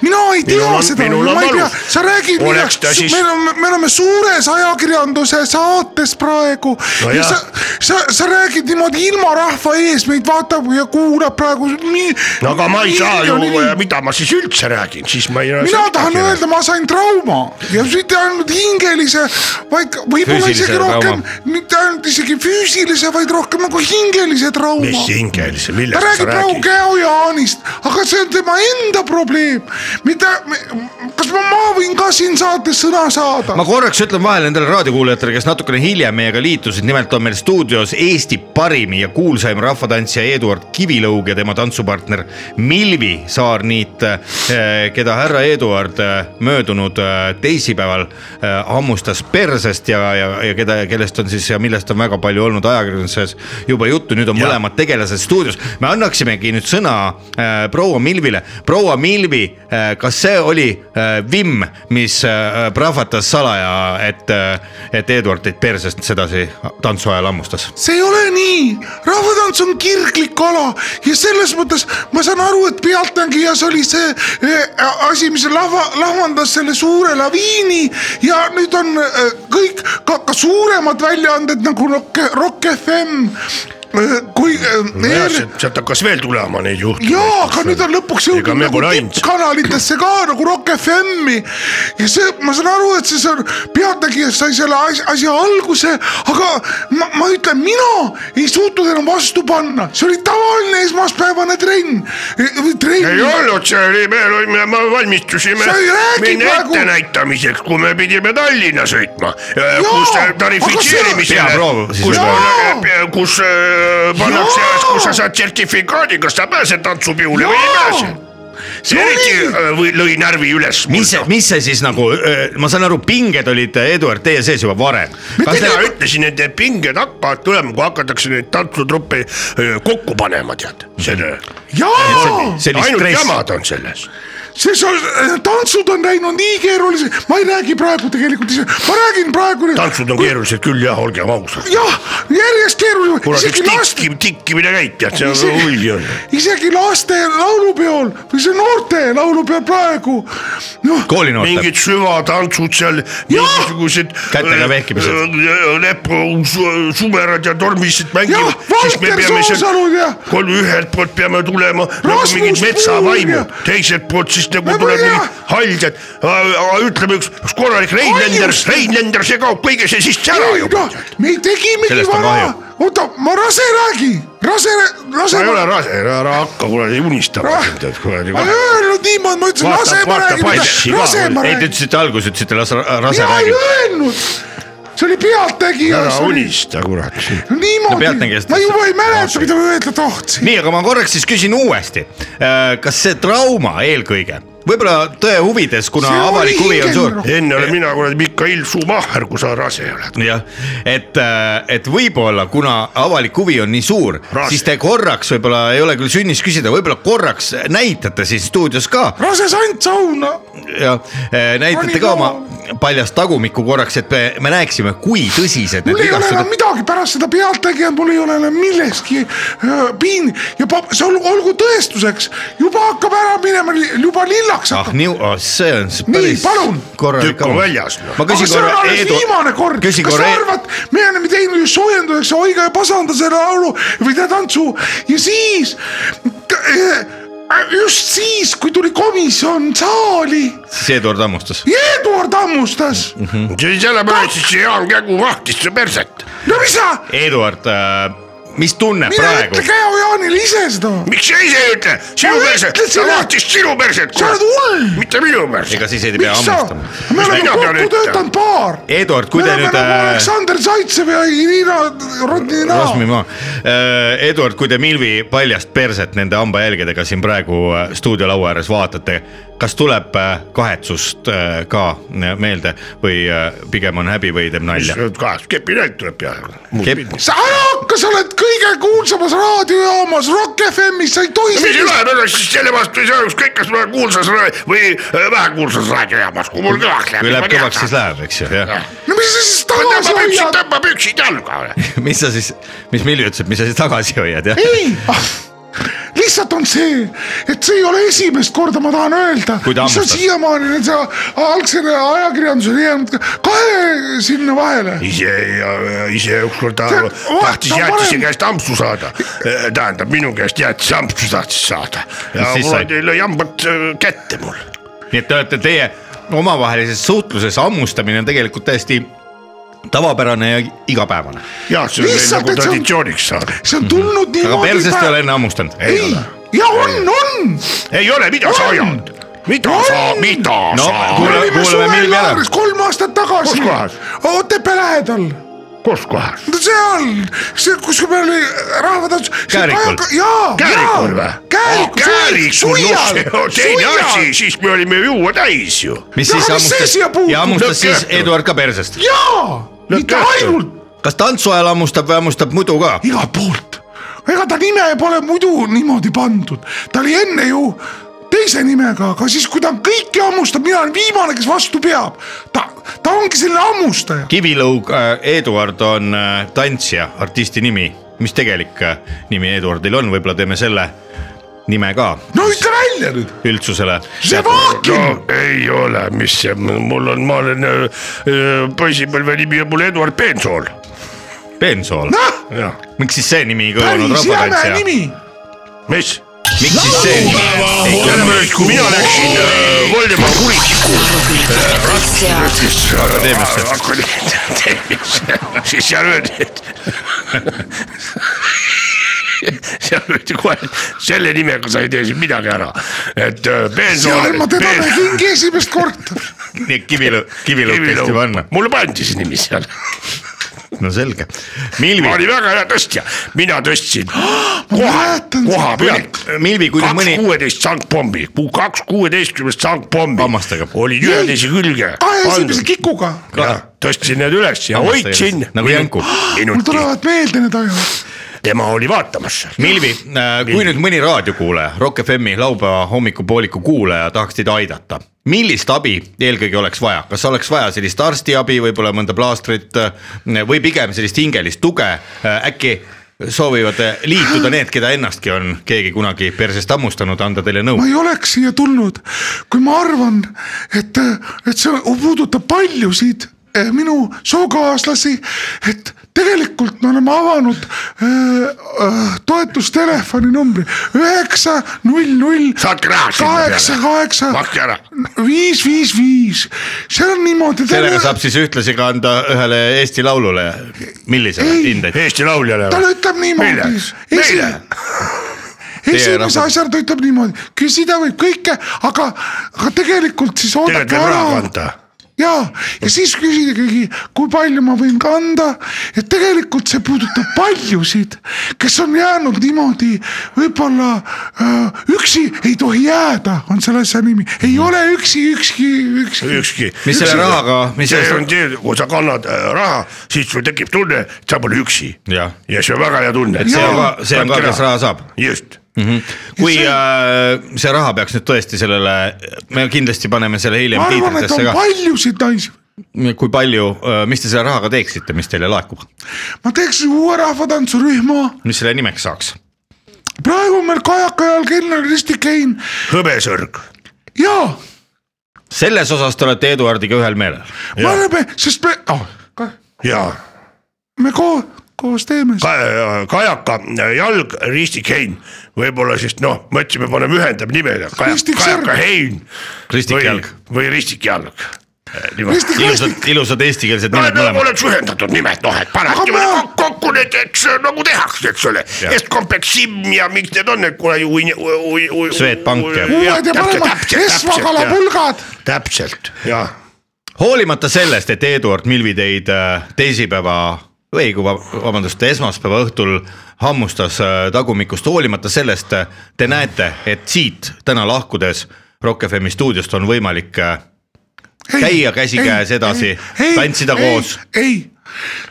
mina ei tea
Minul on-
seda ,
minul on
ma ei tea
valus. ,
sa räägid
Oleks
millest
ta , siis-
me oleme , me oleme suures ajakirjanduse saates praegu
No
ja
jah.
sa , sa , sa räägid niimoodi ilma rahva ees , meid vaatab ja kuulab praegu nii .
no aga ma ei saa ju , äh, mida ma siis üldse räägin , siis ma ei .
mina tahan öelda , ma sain trauma ja mitte ainult hingelise , vaid ka- võib-olla
Füüsilise
isegi
trauma.
rohkem , mitte ainult isegi füüsilise , vaid rohkem nagu hingelise trauma .
mis hingelise ,
ta
millest sa
räägib praegu
räägid ?
käojaanist , aga see on tema enda probleem , mida , kas ma, ma võin ka siin saates sõna saada
ma ? korraks ütlen vahele nendele raadiokuulajatele , kes natukene hiljem meiega liitusid , nimelt on meil stuudios Eesti parim ja kuulsaim rahvatantsija Eduard Kivilõug ja tema tantsupartner Milvi Saarniit , keda härra Eduard eh, möödunud eh, teisipäeval eh, hammustas persest ja , ja , ja keda , kellest on siis ja millest on väga palju olnud ajakirjanduses juba juttu , nüüd on
Jah.
mõlemad tegelased stuudios . me annaksimegi nüüd sõna eh, proua Milvile , proua Milvi , kas see oli eh, vimm , mis eh, prahvatas salaja , et , et Eduard teid persest sedasi tantsu ajal hammustas ?
see ei ole nii , rahvatants on kirglik ala ja selles mõttes ma saan aru , et Pealtnägijas oli see eh, asi , mis lahva , lahvandas selle suure laviini ja nüüd on eh, kõik ka, ka suuremad väljaanded nagu Rock , Rock FM eh, kui eh,
nojah ,
ER-
sealt hakkas veel tulema neid juhtumeid .
jaa , aga nüüd on lõpuks
Ega
jõudnud
me
nagu
pole ainult.
tippkanalitesse ka nagu Rock FM-i . ja see , ma saan aru , et see on , pealtnägijas sai selle asja, asja alguse , aga ma, ma ütlen , mina ei suutnud enam vastu panna , see oli tavaline esmaspäevane trenn . trenn .
ei olnud , see oli , me olime , me valmistusime
Sa ei räägi
minna
praegu-
ettenäitamiseks , kui me pidime Tallinna sõitma , kus
aga see-
tarifitseerimisele
Peaproov , siis
kus ,
Jaa!
kus äh, pannakse
Jaa! ,
kus sa saad sertifikaadi , kas sa pärsed tantsupeole või ei
Jaa!
pääse . see
No
eriti
nii!
äh, või- lõi närvi üles .
mis see , mis see siis nagu , ma saan aru , pinged olid eh, Eduard teie sees juba varem . kas
mina
te ,
ütlesin , et need pinged hakkavad tulema , kui hakatakse neid tantsutruppe äh, kokku panema , tead , selle .
jaa ,
see oli
ainult
stress ,
jamad on selles .
see , see tantsud on läinud nii keeruliseks , ma ei räägi praegu tegelikult ise , ma räägin praegu .
tantsud on . keerulised küll jah , olgem ausad .
jah , järjest
kurat , üks
keerulisemaks .
tikki , tikkimine käib , tead , see on
Isegi-
hull ju .
isegi laste laulupeol või see noorte laulupeol praegu , noh ,
koolinoorte
mingid süvatantsud seal ,
Jah!
mingisugused . äh,
Kätega vehkimised. .
lepu , äh, sumerad ja tormised mängivad
Jah, . Valter Soosalud ja-
kolm , ühelt poolt peame tulema nagu
Rasmus
mingid
Puur ja-
metsavaimud , teiselt poolt siis
Ma
nagu
ei
tuleb
tea.
mingid haljad , ütleme üks , üks korralik Reinlender ,
Ainus-
Reinlender , see kaob kõige see sisse ära
ei
ju .
noh , me tegimegi
Sellest on
vara
kahju. ,
oota , ma rase räägi , rase , rase .
ma ei ole rase , ära hakka kuradi unistama
Rah-
siin tead kuradi .
ma ei öelnud niimoodi , ma ütlesin
Vaata-
rase , ma
vaata passi
räägin ,
ka
rase
veel.
ma
ei , te
räägin ,
ütlesite alguses , ütlesite las ra- rase
mina ei
räägib .
öelnud , see oli Pealtnägija
ära , unista kurat .
niimoodi
Pealtnägijas ,
ma
ta-
juba ei mäleta , mida ma öelda tahtsin .
nii , aga ma korraks siis küsin uuesti . kas see trauma eelkõige , võib-olla tõe huvides , kuna
See oli
avalik huvi on suur
hingeline-
enne olen mina kuradi Mikail Schumacher , kui sa rase oled .
jah , et , et võib-olla kuna avalik huvi on nii suur ,
Rase.
siis te korraks võib-olla ei ole küll sünnis küsida , võib-olla korraks näitate siin stuudios ka
rase sant sauna ,
ja eh, näitate
Oli
ka oma
ka.
paljast tagumikku korraks , et me, me näeksime , kui tõsised
mul
need
ei ole enam
vigastused .
midagi pärast seda pealtnägijat , mul ei ole enam milleski
äh,
öö, piin ja pap- , see ol- olgu tõestuseks , juba hakkab ära minema , juba lillaks
ah
hakkab .
nii oh, , see on s-
Nii,
päris
palun!
korralik
Tükk on väljas, noh.
ma
aga
küsin
see on
korra
alles Eedu...
Eedu ,
viimane kord , kas
küsin
sa
korra
e...
Eedu ,
arvad , me oleme teinud ju soojenduseks Oiga ja Pasanda selle laulu või seda tantsu ja siis , just siis , kui tuli komisjon saali ,
siis Eduard hammustas .
Eduard hammustas .
Mhm.
see on sellepärast , et see Jaan Kägu vahtis su perset .
no mis sa ,
Eduard äh, , mis tunne
mine
praegu
ütle ? Käo Jaanile ise seda ,
miks sa ise ei ütle , sinu
Ma
perset , ta
ütlesin, et-
vahtis sinu perset .
sa oled hull ,
mitte minu perset .
ega siis ei pea
miks sa ,
hammustama .
me oleme
mina pean
kokku
ütlema?
töötanud paar .
Eduard , kui
me
te
oleme
nüüd
nagu
äh,
Aleksander Zaitsev ja Irina
Rasmi
Rodnina .
maa . Eduard , kui te Milvi paljast perset nende hambajälgedega siin praegu äh, stuudiolaua ääres vaatate , kas tuleb äh, kahetsust äh, ka äh, meelde või äh, pigem on häbi või teeb nalja ?
kahest kepinäit tuleb peale .
Kepp-
sa ära hakka , sa oled kõige kuulsamas raadiojaamas Rock FM-is , sa ei tohi
mis ei ole , meil on siis selle vastu ei saa ükskõik , kas me oleme kuulsas ra- või äh, vähekuulsas raadiojaamas , kui mul kõvaks läheb .
kui läheb kõvaks , siis läheb , eks ju , jah .
no mis sa siis tagasi
tõmba püksid ,
hoiad ?
tõmba püksid jalga .
mis sa siis , mis Milvi ütles , et mis sa siis tagasi hoiad , jah ?
ei , Ah, lihtsalt on see , et see ei ole esimest korda , ma tahan öelda ,
Kui ta
mis on
hammustas.
siiamaani nende algse ajakirjandusele jäänud kahe sinna vahele .
ise , ise ükskord ta
See- oota,
tahtis jäätise
parem-
käest ampsu saada . tähendab minu käest jäätise ampsu tahtis saada . ja
Ja siis
kuradi lõi hambad äh, kätte mul .
nii et te olete , teie omavahelises suhtluses hammustamine on tegelikult täiesti tavapärane ja igapäevane .
jah , see on meil
Lihtsalt,
nagu
et see on-
traditsiooniks saanud .
see on tulnud
Mhm. aga
niimoodi
persest ei ole . enne hammustanud ?
ei , ja on , on .
ei ole , mida sa ajad ? mida sa , mida
No,
sa
me
kuule-
olime
kuulame Milvi ära.
suvelaagris kolm aastat tagasi
Kus kohas? .
Otepää lähedal
kus kohas ?
no seal , see , kus meil oli rahvatants .
Käärikul.
jaa ,
Käärikul või
jaa ,? käärikul ,
käärikul , no see on teine asi , siis me olime juua täis ju .
mis
Ja
siis
aga mis see
hammustas
siia puutub?
ja hammustas
Lõpp
siis
kähku.
Eduard ka persest ?
jaa , mitte
kähku.
ainult ,
kas tantsu ajal hammustab või hammustab muidu ka ?
igalt poolt . ega ta nime pole muidu niimoodi pandud , ta oli enne ju teise nimega , aga siis , kui ta kõiki hammustab , mina olen viimane , kes vastu peab . ta , ta ongi selline hammustaja .
Kivilõug äh, Eduard on äh, tantsija , artisti nimi , mis tegelik äh, nimi Eduardil on , võib-olla teeme selle nime ka
no ütle välja nüüd ,
üldsusele .
Ževakin ,
no ei ole , mis see , mul on , ma olen öö, öö, poisipõlve nimi on mul Eduard Peensool .
Bensool ,
noh ,
jah ,
miks siis see nimi ei kõlanud
päris jäme
rahvatantsija ?
nimi
mis ?
miks siis see nimi ?
sellepärast , kui mina läksin öö, Voldemar Kuristiku
akadeemiasse ,
akadeemiasse , siis seal öeldi , et seal öeldi kohe , selle nimega sa ei tee siin midagi ära , et äh, öö,
seal
Peensool
ma . teda nägingi esimest korda .
nii et Kivilõug , Kivilõug tõesti panna ,
mulle pandi see nimi seal ,
no selge .
ma
Milvi ,
olin väga hea tõstja , mina tõstsin koha ,
mäletan
koha
seda.
pealt .
Milvi , kui nüüd
kaks mõni...
mõni ,
kuueteist sangpommi , kaks kuueteistkümnest sangpommi
Hammastage.
oli üksteise külge
kahe esimese . kikuga .
tõstsin need üles ja
Hammastage.
hoidsin .
Nagu jänku.
mul
minuti ,
tulevad meelde need ajad .
tema oli vaatamas seal .
Milvi , Äh, kui nüüd mõni raadiokuulaja , Rock FM-i laupäeva hommikupooliku kuulaja tahaks teid aidata , millist abi eelkõige oleks vaja , kas oleks vaja sellist arstiabi , võib-olla mõnda plaastrit äh, või pigem sellist hingelist tuge , äkki soovivad äh, liituda need , keda ennastki on keegi kunagi persest hammustanud , anda teile nõu
ma ? ei oleks siia tulnud , kui ma arvan , et , et see puudutab paljusid eh, minu sookaaslasi , et tegelikult me oleme avanud äh, äh, toetustelefoni numbri üheksa , null , null .
Saatke raha sinna peale.
kaheksa , kaheksa .
Makske ära.
viis , viis , viis , seal on niimoodi .
sellega saab siis ühtlasi ka anda ühele Eesti Laulule , millisele
Ei.
hindeid ?
Eesti lauljale
ta . ütleb niimoodi
Milleks? . Meile?
esimese
rahvas-
asjana ta ütleb niimoodi , küsida võib kõike , aga , aga tegelikult siis
teile
oodake
teeb raha
ära
kanda .
ja , ja siis küsigegi , kui palju ma võin kanda ja tegelikult see puudutab paljusid , kes on jäänud niimoodi võib-olla äh, üksi ei tohi jääda , on selle asja nimi , ei ole üksi , ükski , ükski .
ükski .
mis selle rahaga , mis
see on
sellest ,
see , kui sa kannad äh, raha , siis sul tekib tunne , et sa pole üksi .
jah ,
ja see on väga hea tunne .
see on ka , see on ka , kes raha saab
just ,
kui äh, see raha peaks nüüd tõesti sellele , me kindlasti paneme selle hiljem
ma arvan , et
tiitritesse
on
ka .
paljusid naisi
kui palju , mis te selle rahaga teeksite , mis teile laekub ,
ma teeksin uue rahvatantsurühma ,
mis selle nimeks saaks ?
praegu on meil Kajaka ajal kelner Risti Kein
hõbesõrg .
ja
selles osas te olete Eduardiga ühel meelel .
me oleme , sest me
ah,
oh, ,
ja
me koos , koos teeme seda .
ka, , kajaka äh, jalg , Risti Hein , võib-olla siis noh , mõtlesime , paneme ühendab nimega
Ristik
Kajak,
Sõrm.
Kajaka Hein .
Ristik Jalg. Äh,
või Ristik Jalg .
Ristik Lastik ,
ilusad , ilusad eestikeelsed
no
nimed
me
mõlemad .
oleks ühendatud nimed , noh , et panedki
Aga ma-
kok- kokku need , eks nagu tehakse , eks ole , Estkompleksimm ja miks need on need kuradi uin- , uin- , uin- .
Swedbank ja-
uued ja paremad esmakalapulgad ,
täpselt ja
hoolimata sellest , et Eduard Milvi teid äh, teisipäeva või kui va- vabandust , esmaspäeva õhtul hammustas äh, tagumikust , hoolimata sellest äh, te näete , et siit täna lahkudes Rock FM stuudiost on võimalik äh, käia käsikäes edasi , tantsida koos ..
ei ,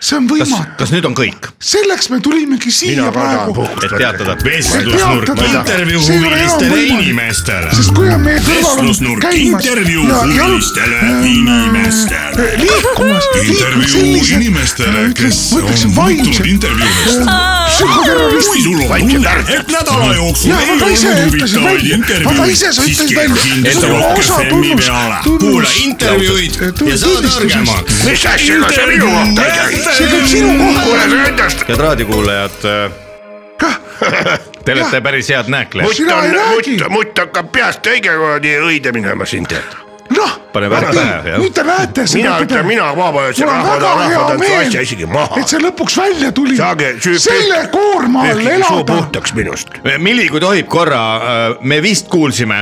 see on
kas
võimatu ,,
kas nüüd on kõik ,
selleks me tulimegi siia
mina vajan
praegu .
et
puhkust .
teatada , et
vestlusnurk
Teatada.
intervjuu
See ei ole enam
huvilistele
võimalik.
inimestele .
sest kui on meie kõrval on
vestlusnurk
käimas Äh,
intervjuu huvilistele inimestele .
liikumas , liikumas Äh,
intervjuu inimestele , kes on muutunud intervjuudest . kui sul on tunne , et nädala jooksul
Mm. Jaa,
ei
aga sa
olnud
ise ütlesid
huvitavaid
välja. Aga ise
intervjuud ,
sa
siis
ütlesid
keera
välja.
kindlasti
Sul on
Rock
osa
FM-i
tunnust-
peale .
tunnust-
kuula intervjuud ja saa
tunnistusest.
targemaks .
mis asja , kas sa minu kohta ei käi ?
see käib sinu kohta ,
kuule , endast
head raadiokuulajad , te olete päris head
mutt
nääklejad ,
Sina ei
on ,
räägi.
mutt , mutt hakkab peast õige kuradi õide minema siin tead .
noh ,
Pane värk pähe, jah.
nüüd te näete
mina ütlen , mina vabaühenduse
Mul on
rahva ,
väga hea
rahvatantsu
meel,
asja isegi maha
et . see lõpuks välja tuli ,
Saage süü-
selle koorma all
pühkige suu
elada ,
puhtaks minust .
Milli , kui tohib korra , me vist kuulsime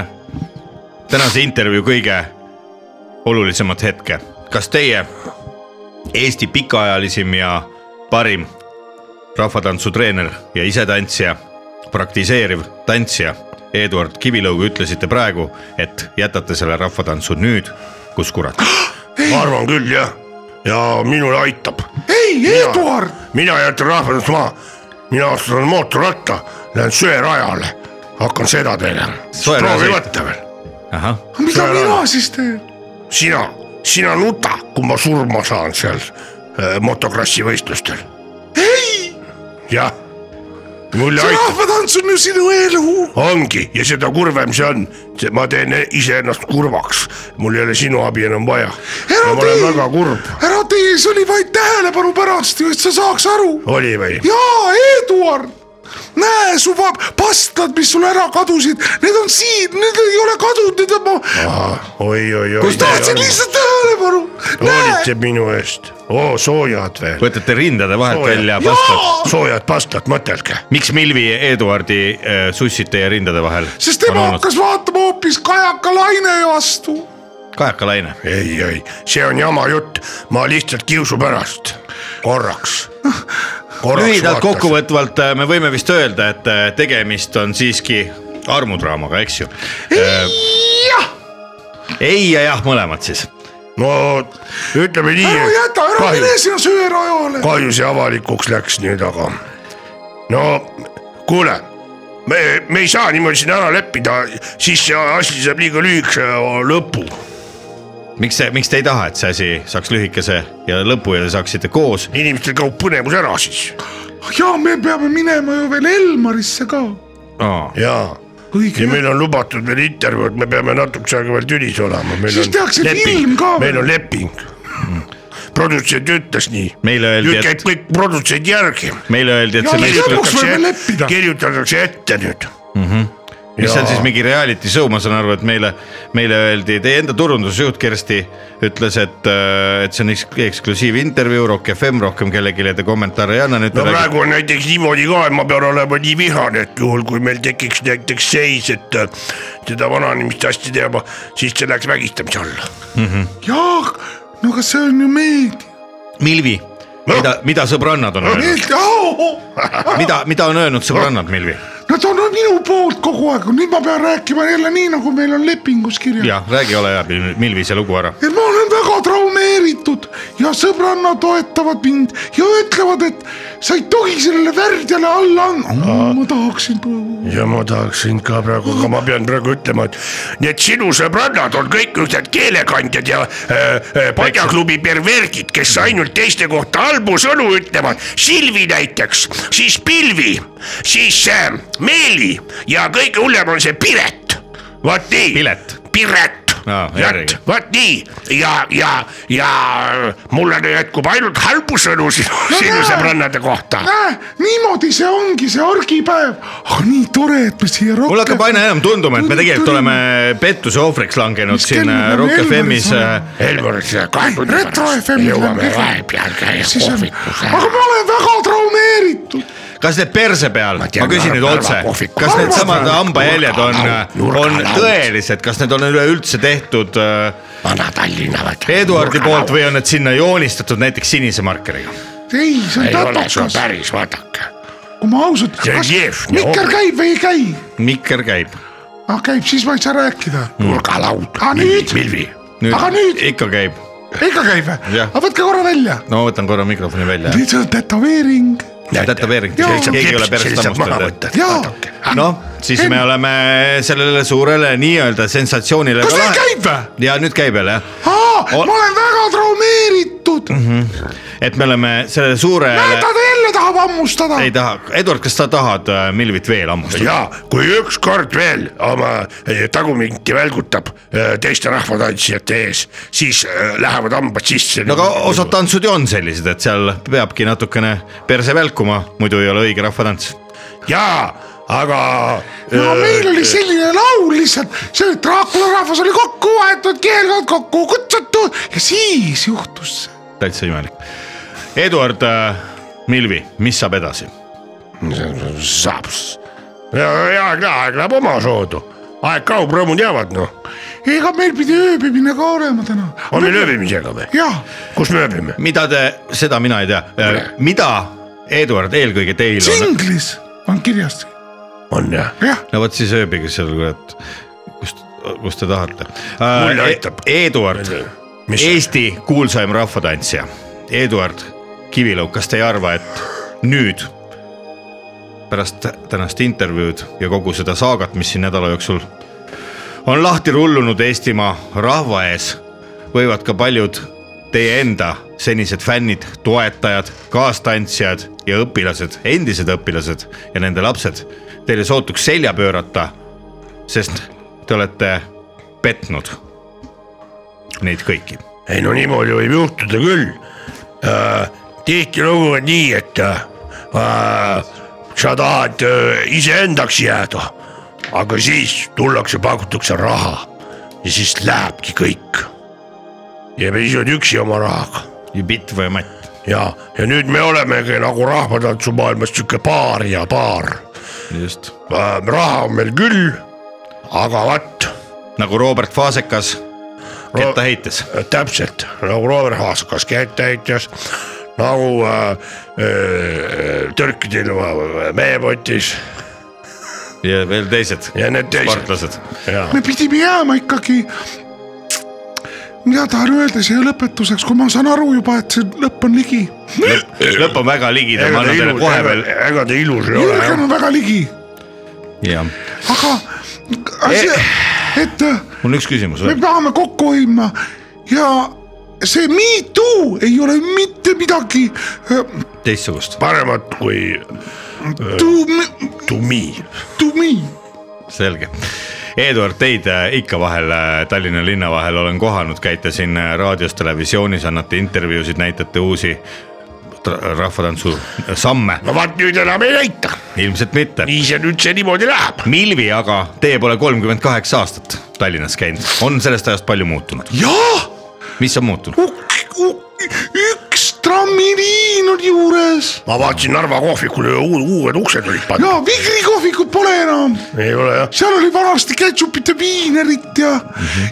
tänase intervjuu kõige olulisemat hetke . kas teie , Eesti pikaajalisim ja parim rahvatantsutreener ja isetantsija , praktiseeriv tantsija Eduard Kivilõug ütlesite praegu , et jätate selle rahvatantsu nüüd , kus kurat .
ma arvan küll jah , ja minul aitab .
ei , Eduard ,
mina jätan rahvatantsu maha , mina ostan mootorratta , lähen söerajale , hakkan seda tegema .
Söeraja
proovi
sõita.
võtta veel ,
ahah ,
mida
Sõel
mina
on.
siis teen ?
sina , sina nuta , kui ma surma saan seal äh, motokrossi võistlustel ,
ei ,
jah , mulle
see
aitab
rahvatants on ju sinu elu ,
ongi ja seda kurvem see on , ma teen e-, iseennast kurvaks , mul ei ole sinu abi enam vaja .
ära
ma olen väga kurb ,
tee , ära tee , see oli vaid tähelepanu pärast ju , et sa saaks aru .
oli või ?
jaa , Eduard , näe su va- pastad , mis sul ära kadusid , need on siin , need ei ole kadunud , need on ma ,
oi-oi-oi .
tahtsin lihtsalt tähelepanu , näe ,
hoolitseb minu eest , oo soojad veel ,
võtate rindade vahelt
Oo,
välja pastad .
soojad pastad , mõtelge .
miks Milvi ja Eduardi äh, sussid teie rindade vahel ?
sest tema hakkas vaatama hoopis Kajaka Laine vastu .
Kajaka Laine
ei , ei , see on jama jutt , ma lihtsalt kiusu pärast , korraks .
lühidalt . kokkuvõtvalt äh, me võime vist öelda , et äh, tegemist on siiski armudraamaga , eks ju ?
jah ,
ei ja jah , mõlemad siis .
no ütleme nii ,
ära jäta , ära
kahju
mine , sinna söörajale .
kahju see avalikuks läks nüüd , aga no kuule , me , me ei saa niimoodi siin ära leppida , siis see asi saab liiga lühikese lõpu .
miks see , miks te ei taha , et see asi saaks lühikese ja lõpu ja te saaksite koos ?
inimestel kaob põnevus ära siis
ja me peame minema ju veel Elmarisse ka .
jaa ja
õige ,
meil on lubatud veel intervjuud , me peame natukese aega veel tülis olema .
Siis tehakse film ka veel.
meil on leping . produtsent ütles nii .
Meile öeldi,
nüüd
et-
käib kõik produtsendi järgi .
meile öeldi , et
Ja
see
lõpuks
mees ,
lõpuks võime leppida.
kirjutatakse ette nüüd .
mis see on
jaa.
siis mingi reality show , ma saan aru , et meile , meile öeldi , teie enda turundusjuht Kersti ütles , et , et see on eks- eksklusiivintervjuu Rock FM , rohkem kellelegi te kommentaare ei anna , nüüd
no
te räägite
praegu on näiteks niimoodi ka , et ma pean olema nii vihane , et juhul kui meil tekiks näiteks seis , et äh, seda vananemist hästi teha , siis see läheks vägistamise alla .
jaa , no aga see on ju meedia ,
Milvi , mida , mida sõbrannad on öelnud ,
meedia ,
mida , mida on öelnud sõbrannad , Milvi ?
nad on minu poolt kogu aeg , nüüd ma pean rääkima jälle nii , nagu meil on lepingus kirjas .
jah , räägi , ole hea , Milvi , see lugu ära .
et ma olen väga
väga traumeeritud ja sõbranna toetavad mind ja ütlevad , et sa ei tohi sellele värdjale alla anda . ma tahaksin .
ja ma tahaksin ka praegu , aga ma pean praegu ütlema , et need sinu sõbrannad on kõik ühed keelekandjad ja äh, äh, padjaklubi perverdid , kes ainult teiste kohta halbu sõnu ütlevad . Silvi näiteks , siis Pilvi , siis äh, Meeli ja kõige hullem on see Piret . vot nii .
Pilet.
Piret
Aa,
vot
järgi. ,
vot nii ja , ja , ja mulle jätkub ainult halbu sõnu sinu , sinu
näe.
sõbrannade kohta .
näe , niimoodi see ongi see argipäev . ah nii tore , et me siia rohkem .
mul hakkab aina enam tunduma , et me tegelikult oleme pettuse ohvriks langenud
Mis
siin
kell me
äh,
peame
Rock äh, FM-is .
Elmaris
Elmar , kahe tunni
Retro
pärast
FM-il on
jõuame
kehv.
vahepeal käia
siis on , aga
kohvitusele .
ma olen väga traumeeritud .
kas need perse peal , ma
tean,
küsin nüüd
Narva
otse
kohvik- ,
kas
Narva
needsamad
kohvik-
hambajäljed on äh,
nurgalaud, ,
on
nurgalaud.
tõelised , kas need on üleüldse tehtud äh,
Vana-Tallinna vaata .
Eduardi poolt või on need sinna joonistatud näiteks sinise markeriga ?
ei , see on
ei ole , see on
tatakas ,
päris vaadake .
kui ma ausalt .
See on kehv, no.
Mikker käib või ei käi ?
mikker käib .
ah käib , siis ma ei saa rääkida .
nurgalaud .
Aga nüüd?
Milvi .
nüüd
Aga nüüd?
ikka käib .
ikka käib või ?
Jah.
aga võtke korra välja .
no ma võtan korra mikrofoni välja .
nüüd see on tätoveering .
tätoveering ,
Jaa.
keegi ei ole perst hammustanud .
jaa ,
noh , siis me oleme sellele suurele nii-öelda sensatsioonile .
kas see käib või ?
ja nüüd käib jälle jah ,
aa ,
Ol- Mhm.
ma olen väga traumeeritud mm . -hmm.
et me oleme selle suure ,
ta jälle tahab hammustada .
ei taha , Eduard , kas sa tahad äh, Milvit veel hammustada ?
ja kui ükskord veel oma eh, taguminti välgutab eh, teiste rahvatantsijate ees , siis eh, lähevad hambad sisse .
no aga osad tantsud ju on sellised , et seal peabki natukene perse välkuma , muidu ei ole õige rahvatants .
ja , aga . eh,
no meil oli selline laul lihtsalt , see oli Draakula rahvas oli kokku vahetud , keelkond kokku kutsutud ja siis juhtus see .
täitsa imelik . Eduard äh, , Milvi , mis saab edasi ?
saab . aeg läheb , aeg läheb omasoodu , aeg kaob , rõõmud jäävad noh ,
ega meil pidi ööbimine ka olema täna .
on meil ööbimisega või ?
jah ,
kus me ööbime ?
mida te , seda mina ei tea , mida , Eduard , eelkõige teil on ?
tsinglis on kirjas ,
on jah ,
jah ,
no vot siis ööbige seal , kurat , kust , kus te tahate
Mulle
äh,
aitab. .
Eduard ,
mis e
Eesti kuulsaim rahvatantsija , Eduard Kivilaug , kas te ei arva , et nüüd pärast tänast intervjuud ja kogu seda saagat , mis siin nädala jooksul on lahti rullunud Eestimaa rahva ees , võivad ka paljud teie enda senised fännid , toetajad , kaastantsijad ja õpilased , endised õpilased ja nende lapsed teile sootuks selja pöörata , sest te olete petnud neid kõiki
ei no niimoodi võib juhtuda küll äh, . tihtilugu on nii , et äh, sa tahad äh, iseendaks jääda , aga siis tullakse , pakutakse raha ja siis lähebki kõik . ja siis oled üksi oma rahaga
ja bitt või matt .
ja , ja nüüd me olemegi nagu rahvatantsumaailmas sihuke paar ja paar
just .
äh, . raha on meil küll , aga vat
nagu Robert Faasekas
Ro-
ketta heites .
täpselt nagu Robert Haaskas kätteheitjas , nagu äh, äh, tõrkidel meepotis
ja veel teised
ja need teised .
sportlased .
me pidime jääma ikkagi . mina tahan öelda siia lõpetuseks , kui ma saan aru juba , et see lõpp on ligi .
lõpp on väga ligidal , ma annan
ega ta
teile
ilus ,
kohe veel .
ega, ega ta ilus ei ole
Jürgen
jah ,
on väga ligi ,
jah ,
aga asi , et äh,
mul on üks küsimus
me
veel .
peame kokku hoidma ja see Me Too ei ole mitte midagi äh,
teistsugust ,
paremat kui
to me ,
to me .
to me
selge . Eduard , teid äh, ikka vahel äh, Tallinna linna vahel olen kohanud , käite siin äh, raadios , televisioonis , annate intervjuusid , näitate uusi tra- rahvatantsu samme ,
no vaat nüüd enam ei näita ,
ilmselt mitte .
nii see nüüd see niimoodi läheb .
Milvi aga , teie pole kolmkümmend kaheksa aastat Tallinnas käinud , on sellest ajast palju muutunud ,
jah ,
mis on muutunud ?
üks trammiliin on juures
ma vaatasin Narva kohvikule uu- uued uksed olid pandud ,
ja Vigri kohvikut pole enam ,
ei ole jah ,
seal oli vanasti ketšupit ja viinerit ja ,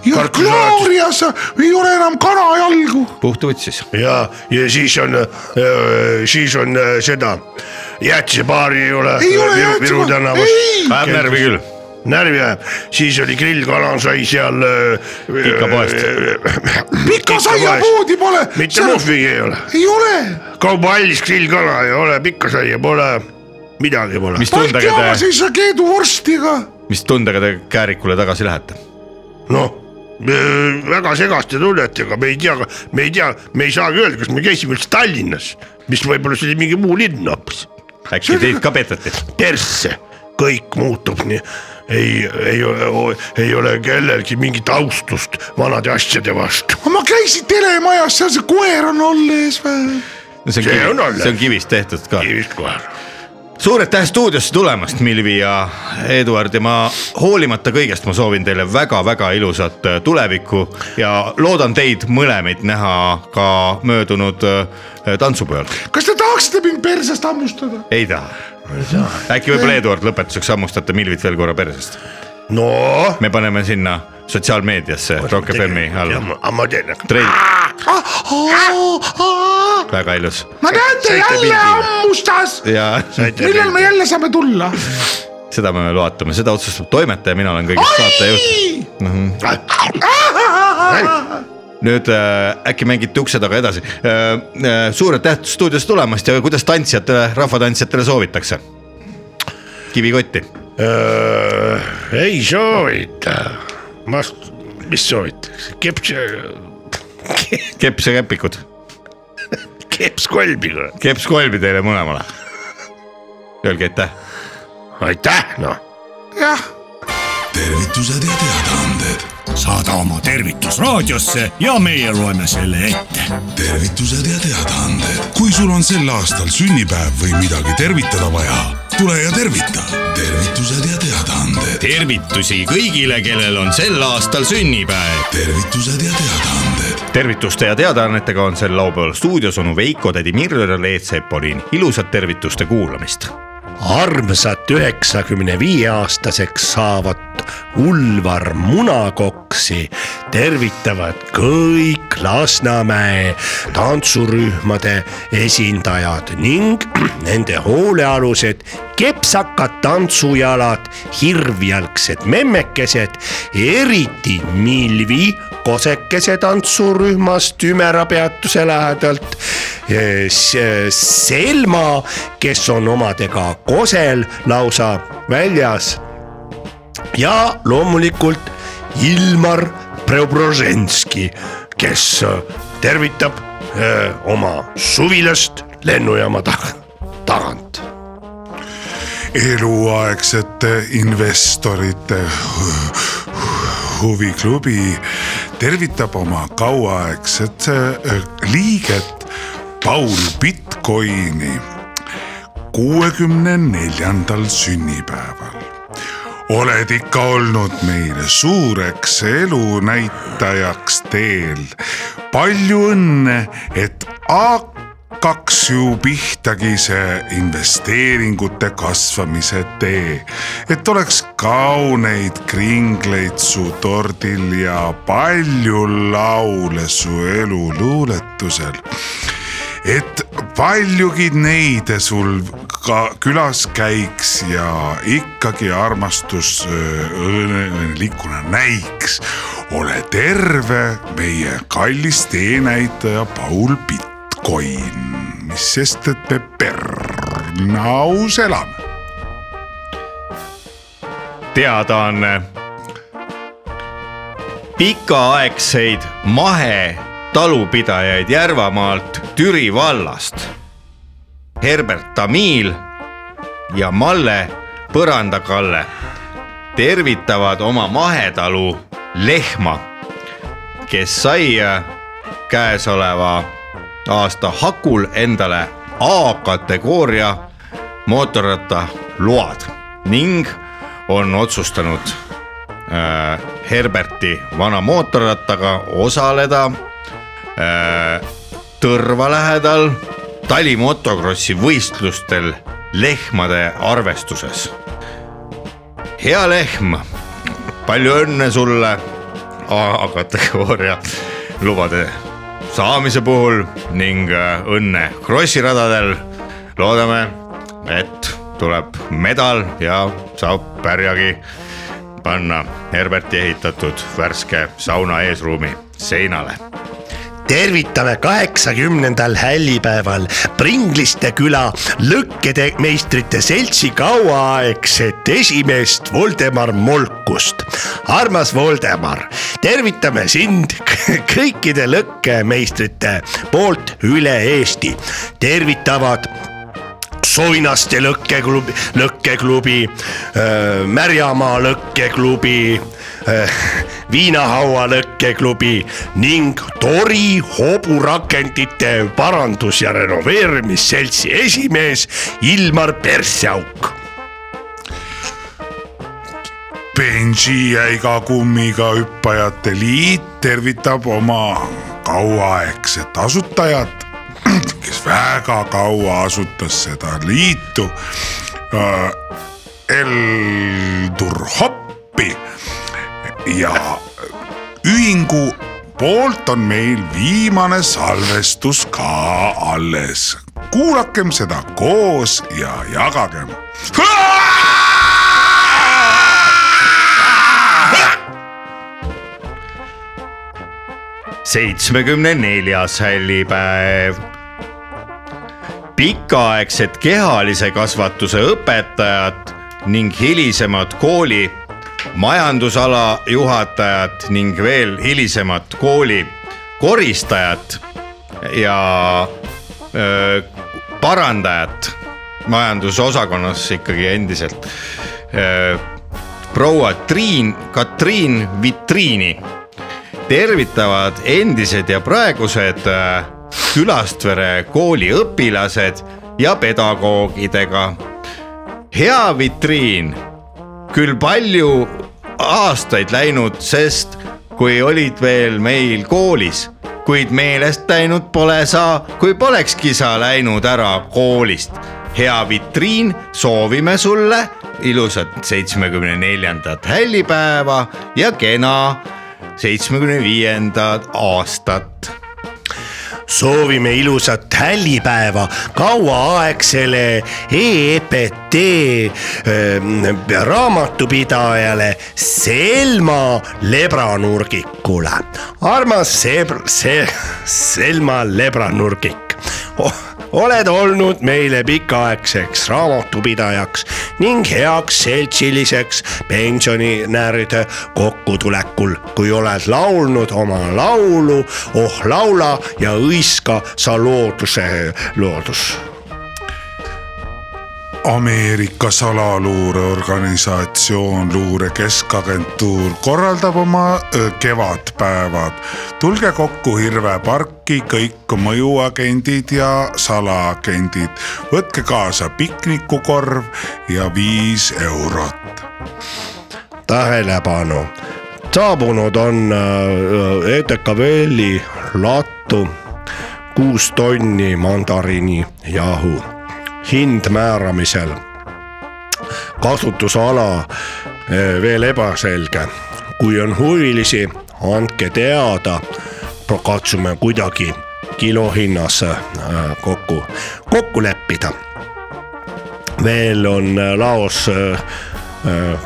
ja
Kartulisalat.
Glorias ei ole enam kanajalgu .
puhta võtsis .
ja , ja siis on äh, , siis on äh, seda jäätisepaari ei ole .
ei ole
Viru
jäätsepaari ,
tänavas
ei ,
ajab närvi küll .
närvi ajab , siis oli grillkala sai seal . äh,
Pikapoest. .
Pika saia poodi pole .
mitte muhvigi ei ole ,
ei ole .
kaubaallis grillkala ei ole , pikka saia pole , midagi pole .
mis
Balti
tundega
jaamas
te ,
ei saa keedu vorstiga .
mis tundega te Käärikule tagasi lähete ?
noh , väga segaste tunnetega , me ei tea , me ei tea , me ei saagi öelda , kas me käisime üldse Tallinnas , mis võib-olla see oli mingi muu linn hoopis ,
äkki teid ka peteti ?
persse , kõik muutub nii ei , ei ole , ei ole kellelgi mingit austust vanade asjade vastu .
ma käisin telemajas , seal see koer on all ees või ?
see on
See on
kivi-
olnud.
see on kivist tehtud ka .
kivist kohe .
suur aitäh stuudiosse tulemast , Milvi ja Eduard ja ma hoolimata kõigest , ma soovin teile väga-väga ilusat äh, tulevikku ja loodan teid mõlemaid näha ka möödunud äh, tantsupeol .
kas te tahaksite mind persest hammustada ?
ei taha . äkki võib-olla Eduard lõpetuseks hammustate Milvit veel korra persest ,
no .
me paneme sinna sotsiaalmeediasse Rock FM-i alla .
aga ma teen ,
treil , väga ilus
no näete , jälle hammustas .
ja
millal me jälle saame tulla ?
seda me veel vaatame , seda otsustab toimetaja , mina olen kõigest saatejuht . nüüd äh, äkki mängite ukse taga edasi äh, äh, . suur aitäh stuudiosse tulemast ja kuidas tantsijatele , rahvatantsijatele soovitakse ? kivikotti ,
ei soovita , ma , mis soovitakse , keps ,
keps ja käpikud ,
keps kolbiga ,
keps kolmi teile mõlemale . Öelge aitäh .
aitäh noh .
jah ,
tervitused ja teadaanded . saada oma tervitus raadiosse ja meie loeme selle ette .
tervitused ja teadaanded . kui sul on sel aastal sünnipäev või midagi tervitada vaja , tule ja tervita . tervitused ja teadaanded ,
tervitusi kõigile , kellel on sel aastal sünnipäev .
tervitused ja teadaanded ,
tervituste ja teadaannetega on sel laupäeval stuudios onu Veiko , tädi Mirror ja Leet Sepolin . ilusat tervituste kuulamist
armsat üheksakümne viie aastaseks saavat Ulvar Munakoksi tervitavad kõik Lasnamäe tantsurühmade esindajad ning nende hoolealused kepsakad tantsujalad , hirvjalgsed memmekesed , eriti Milvi kosekese tantsurühmast Ümera peatuse lähedalt Eh, s- Selma , kes on omadega kosel lausa väljas . ja loomulikult Ilmar Preobroženski , kes eh, tervitab eh, oma suvilast lennujaama taga , tagant .
eluaegsete investorite huviklubi tervitab oma kauaaegset äh, liiget Paul Bitcoini kuuekümne neljandal sünnipäeval . oled ikka olnud meile suureks elunäitajaks teel . palju õnne , et hakkaks ju pihtagi see investeeringute kasvamise tee , et oleks kauneid kringleid su tordil ja palju laule su eluluuletusel et paljugi neid sul ka külas käiks ja ikkagi armastus öö, õõne- õnnelikuna näiks . ole terve , meie kallis teenäitaja Paul Bitcoin , mis sest , et me Pernaus elame .
teadaanne . pikaaegseid mahetalupidajaid Järvamaalt Türi vallast . Herbert Tamiil ja Malle Põrandakalle tervitavad oma mahetalu lehma , kes sai äh, käesoleva aasta hakul endale A-kategooria mootorratta load ning on otsustanud äh, Herberti vana mootorrattaga osaleda äh, Tõrva lähedal tali motokrossi võistlustel lehmade arvestuses . hea lehm , palju õnne sulle A-kategooria lubade saamise puhul ning äh, õnne krossiradadel . loodame , et tuleb medal ja saab pärjagi panna Herberti ehitatud värske sauna eesruumi seinale
tervitame kaheksakümnendal hällipäeval Pringliste küla lõkkedemeistrite seltsi kauaaegset esimeest Voldemar Molkust. armas Voldemar, tervitame sind kõikide lõkkemeistrite poolt üle Eesti. tervitavad Soinaste lõkkeklubi , lõkkeklubi , Märjamaa lõkkeklubi , Viinahaua lõkkeklubi ning Tori hoburakendite parandus- ja renoveerimisseltsi esimees Ilmar Persjauk .
Benji ja iga kummiga hüppajate liit tervitab oma kauaaegset asutajat , kes väga kaua asutas seda liitu . Eldur Hoppi ja ühingu poolt on meil viimane salvestus ka alles . kuulakem seda koos ja jagagem .
seitsmekümne neljas hällipäev . pikaaegset kehalise kasvatuse õpetajat ning hilisemat kooli majandusala juhatajat ning veel hilisemat kooli koristajat ja öö, parandajat majandusosakonnas ikkagi endiselt . proua Triin , Katriin Vitriini tervitavad endised ja praegused äh, Külastvere kooli õpilased ja pedagoogidega . hea vitriin , küll palju aastaid läinud , sest kui olid veel meil koolis , kuid meelest läinud pole sa , kui polekski sa läinud ära koolist . hea vitriin , soovime sulle ilusat seitsmekümne neljandat hällipäeva ja kena seitsmekümne viiendat aastat .
soovime ilusat hällipäeva kauaaegsele EEPT ähm, raamatupidajale Selma Lebranurgikule . armas Sebr- , see Selma Lebranurgik oh, , oled olnud meile pikaaegseks raamatupidajaks ning heaks seltsiliseks pensionäride kokkutulekul , kui oled laulnud oma laulu Oh laula ja õiska sa looduse loodus .
Ameerika salaluureorganisatsioon Luure Keskagentuur korraldab oma öö, kevadpäevad . tulge kokku Hirve parki kõik mõjuagendid ja salaagendid . võtke kaasa piknikukorv ja viis eurot .
tähelepanu , saabunud on äh, ETK Velli lattu kuus tonni mandariini jahu , hind määramisel . kasutusala äh, veel ebaselge , kui on huvilisi , andke teada , katsume kuidagi kilohinnas äh, kokku , kokku leppida veel on äh, laos äh, äh,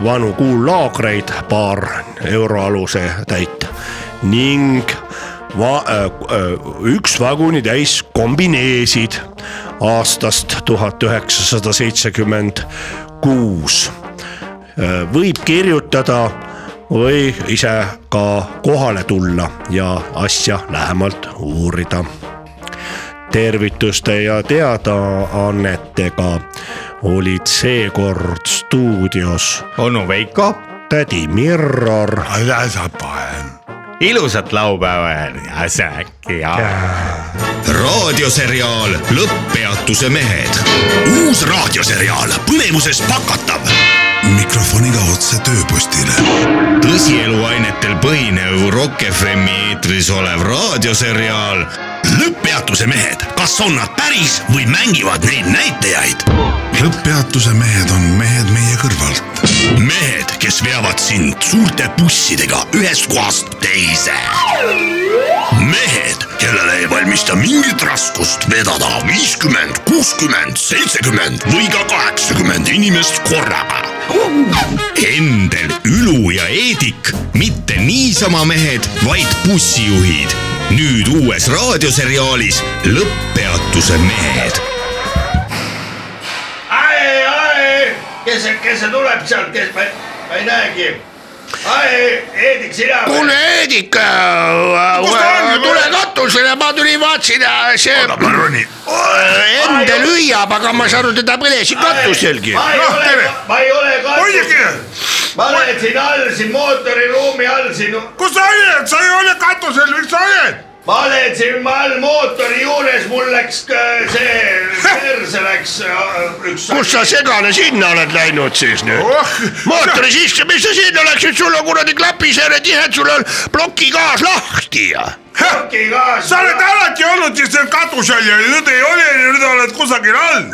vanu kuullaagreid , paar euroaluse täit ning va- , üks vagunitäis kombineesid aastast tuhat üheksasada seitsekümmend kuus . võib kirjutada või ise ka kohale tulla ja asja lähemalt uurida tervituste ja teadaannetega olid seekord stuudios
onu Veiko ,
tädi Mirror ,
ilusat laupäeva ja säkki ja .
raadioseriaal Lõpppeatuse mehed . uus raadioseriaal põnevuses pakatav .
mikrofoniga otse tööpostile .
tõsieluainetel põhinev Rock FM-i eetris olev raadioseriaal
lõpppeatuse mehed , kas on nad päris või mängivad neid näitajaid ?
lõpppeatuse mehed on mehed meie kõrvalt .
mehed , kes veavad sind suurte bussidega ühest kohast teise . mehed , kellele ei valmista mingit raskust vedada viiskümmend , kuuskümmend , seitsekümmend või ka kaheksakümmend inimest korraga Endel , Ülu ja Eedik , mitte niisama mehed , vaid bussijuhid . nüüd uues raadioseriaalis Lõpppeatuse mehed .
ai , ai , kes see , kes see tuleb sealt , kes ma , ma ei näegi . ai , Heidik , sina .
kuule , Heidik ,
on?
tule katusele , ma tulin , vaatasin äh, see Endel hüüab , aga ma ei saanud teda põdesid katuselgi .
ma ei
Noh, tere.
ole , ma ei ole katus ,
hoidke ,
ma olen siin all , siin mootoriruumi all siin ,
kus sa oled , sa ei ole katusel , miks sa oled ?
ma olen siin ma all mootori juures , mul läks äh, see , perse läks äh, üks .
kus sa segane sinna oled läinud siis nüüd ?
oh ,
mootori sisse , mis sa sinna läksid , sul on kuradi klapisääre tihed , sul on plokikaas lahti ja .
sa oled alati olnud siis seal katusel ja nüüd ei ole ja nüüd oled kusagil all .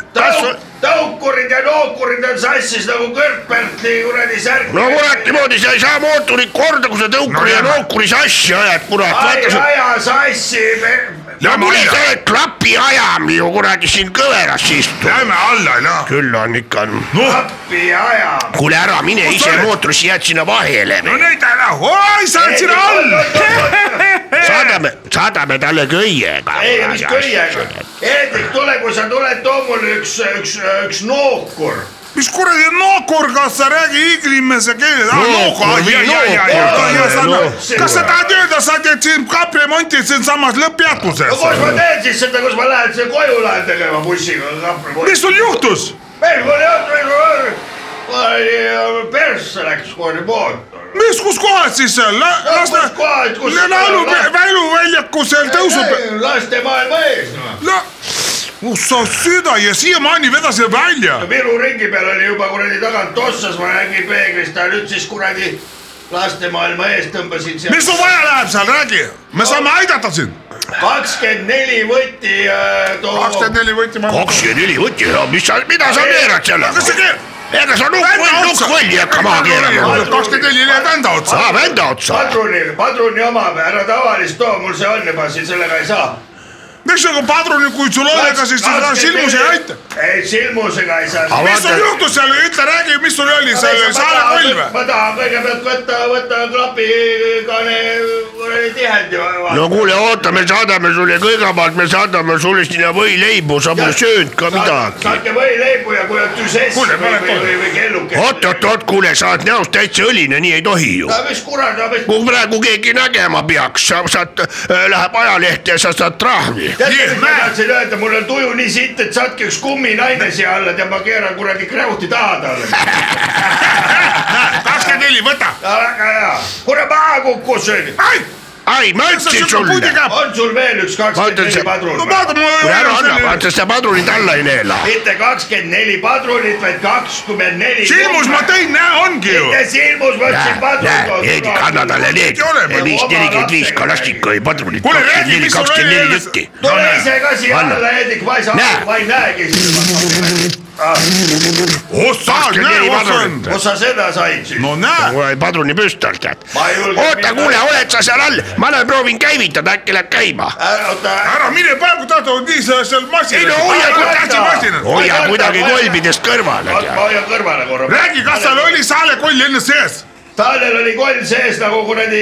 tõukurid ja nookurid on sassis nagu Kõrgpärtli kuradi särk .
no kurat , niimoodi sa ei saa mootorit korda , kui sa tõukuri ja nookuri sassi ajad , kurat ,
ma ei
vaata sa .
aja sassi .
no mul ei ole klapi ajam ju kuradi siin kõveras istub .
Lähme alla , noh .
küll on ikka ,
appi ei aja .
kuule ära mine ise
oled?
mootorisse , jääd sinna vahele .
no nüüd ära , oi , sa oled siin all .
saadame , saadame talle köiega .
ei , mis köiega ., Hendrik , tule , kui sa tuled , too mulle üks , üks , üks nookur .
mis kuradi nookur , kas sa räägi hiiglimese keeles ?
Nookur, mingi nookur.
kas sa tahad öelda , sa teed siin kapremonti siinsamas
no
lõpppeatuses ?
kus ma teen siis seda , kus ma lähen siia koju lähen tegema bussiga ?
mis sul ? juhtus ?
meil mul ei olnud , meil mul oli , persse läks kuradi mootor .
mis , kus kohas siis seal ?
kus kohas , kus .
laulu , väluväljaku seal tõusub .
lastemaailma ees noh. no. .
no , kus sa süda ja siiamaani vedasid välja .
Viru ringi peal oli juba kuradi tagant otsas , ma nägin peeglist , aga nüüd siis kuradi lastemaailma ees tõmbasin
mis
seal
sul vaja läheb seal , räägi , me saame aidata sind .
kakskümmend neli võti äh, too .
kakskümmend neli võtime .
kakskümmend neli võti , no mis sa , mida sa neerad sellega
kas ? sa keerad ?
ega sa nukk , nukkvõlli hakka maha keerama .
kakskümmend neli läheb enda otsa .
aa , vända otsa .
padruni , padruni oma , ära tavalist too , mul see on juba , siin sellega ei saa .
miks sa kui padruni , kui sul on , ega siis seda silmus ei aita .
ei , silmusega ei saa .
mis sul juhtus seal , ütle , räägi , mis sul oli seal , sa oled loll või ?
ma tahan kõigepealt võtta , võtta klapi kaane kuradi tihendi .
no kuule , oota , me saadame sulle kõigepealt , me saadame sulle sinna võileibu , sa pole söönud ka midagi .
saate võileibu ja kui on tüsess
Kuule,
või ,
ma olen
või , või,
tore.
või kelluke .
oot , oot , oot , kuule , sa oled näost täitsa õline , nii ei tohi ju .
aga mis kurat , aga mis .
kui praegu keegi nägema peaks , sa saad , läheb ajalehte ja sa saad trahvi .
teate , mis ma tahtsin öelda , mul on tuju nii sitt , et saatke üks kumminaine siia alla , tead , ma keeran kuradi kreuti taha talle .
kakskümmend neli , võta .
väga hea , kurat maha kukkus .
ai , ma ütlesin sulle .
on sul veel üks kakskümmend
Vaata, see-
neli padrun ?
no vaata , mul ei
kuule ära
ole
anna ,
selline .
vaata seda padrunit alla ei neela .
mitte kakskümmend neli padrunit , vaid kakskümmend neli .
silmus ma . tõin , näe , ongi ju .
mitte silmus , ma
näe
ütlesin ,
näe ,
padrun .
Heidik , anna talle need
olema.
viis , nelikümmend viis kalastikoi padrunit , kakskümmend neli , kakskümmend neli jutti .
tule ise ka siia
Anna.
alla , Heidik , ma ei saa
Näe. ,
ma ei näegi sind .
ossa ,
kakskümmend
näe
neli ,
ossa on .
padrunit .
kus sa seda said siis ?
no näe .
mul oli padruni püstol , tead .
Ma ei julge
oota ,
mitte-
kuule , oled sa seal all , ma lähen proovin käivitada , äkki läheb käima .
ära , oota .
ära mine praegu , tahad nii seal seal masinas .
Ei no hoia
Ära
korda.
tahtsi masinas .
hoia
Ma-
kuidagi
ma-
kolbidest kõrvale ,
ma
tead .
hoian kõrvale korra .
räägi , kas seal oli saalekoll enne sees ?
Tanel oli koll sees nagu kuradi .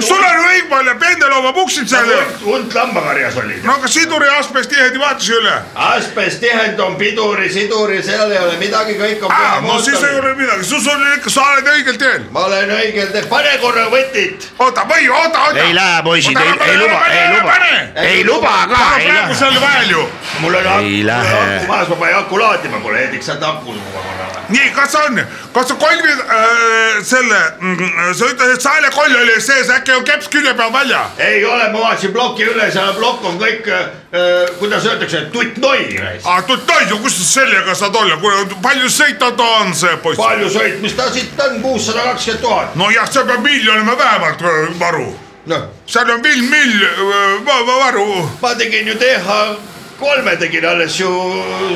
sul on Võikval ja Pendelova puksid seal ju .
hunt lambakarjas oli .
no aga siduri astmes tihedi vaatas üle .
asbest tihend on piduri , siduri , seal ei ole midagi , kõik on .
no siis ei ole midagi , sul on ikka , sa oled õigel teel .
ma olen õigel teel , pane korra võtit .
oota , või oota , oota .
ei lähe , poisid , ei , ei luba , ei luba , ei luba ka ,
ära
ei
praegu
lähe .
seal vahel ju .
mul on aku , mul on
lähe.
aku maas , ma panen aku laadima , kuule Heidik , sa oled aku suga korra või ?
nii , kas on , kas sa kolmid äh, selle , sa ütlesid , et saalekoll oli sees , äkki on keps külje peal välja ?
ei ole , ma vaatasin ploki üle , seal plokk on kõik , kuidas öeldakse , tuttnoi .
ah , toidu , kus sa sellega saad olla , palju sõita ta on see poiss ?
palju sõit , mis ta siit on , kuussada kakskümmend tuhat .
nojah , see peab miljonima vähemalt äh, varu ,
noh ,
seal on mill , mill äh, va- va- varu .
ma tegin ju TH3-e tegin alles ju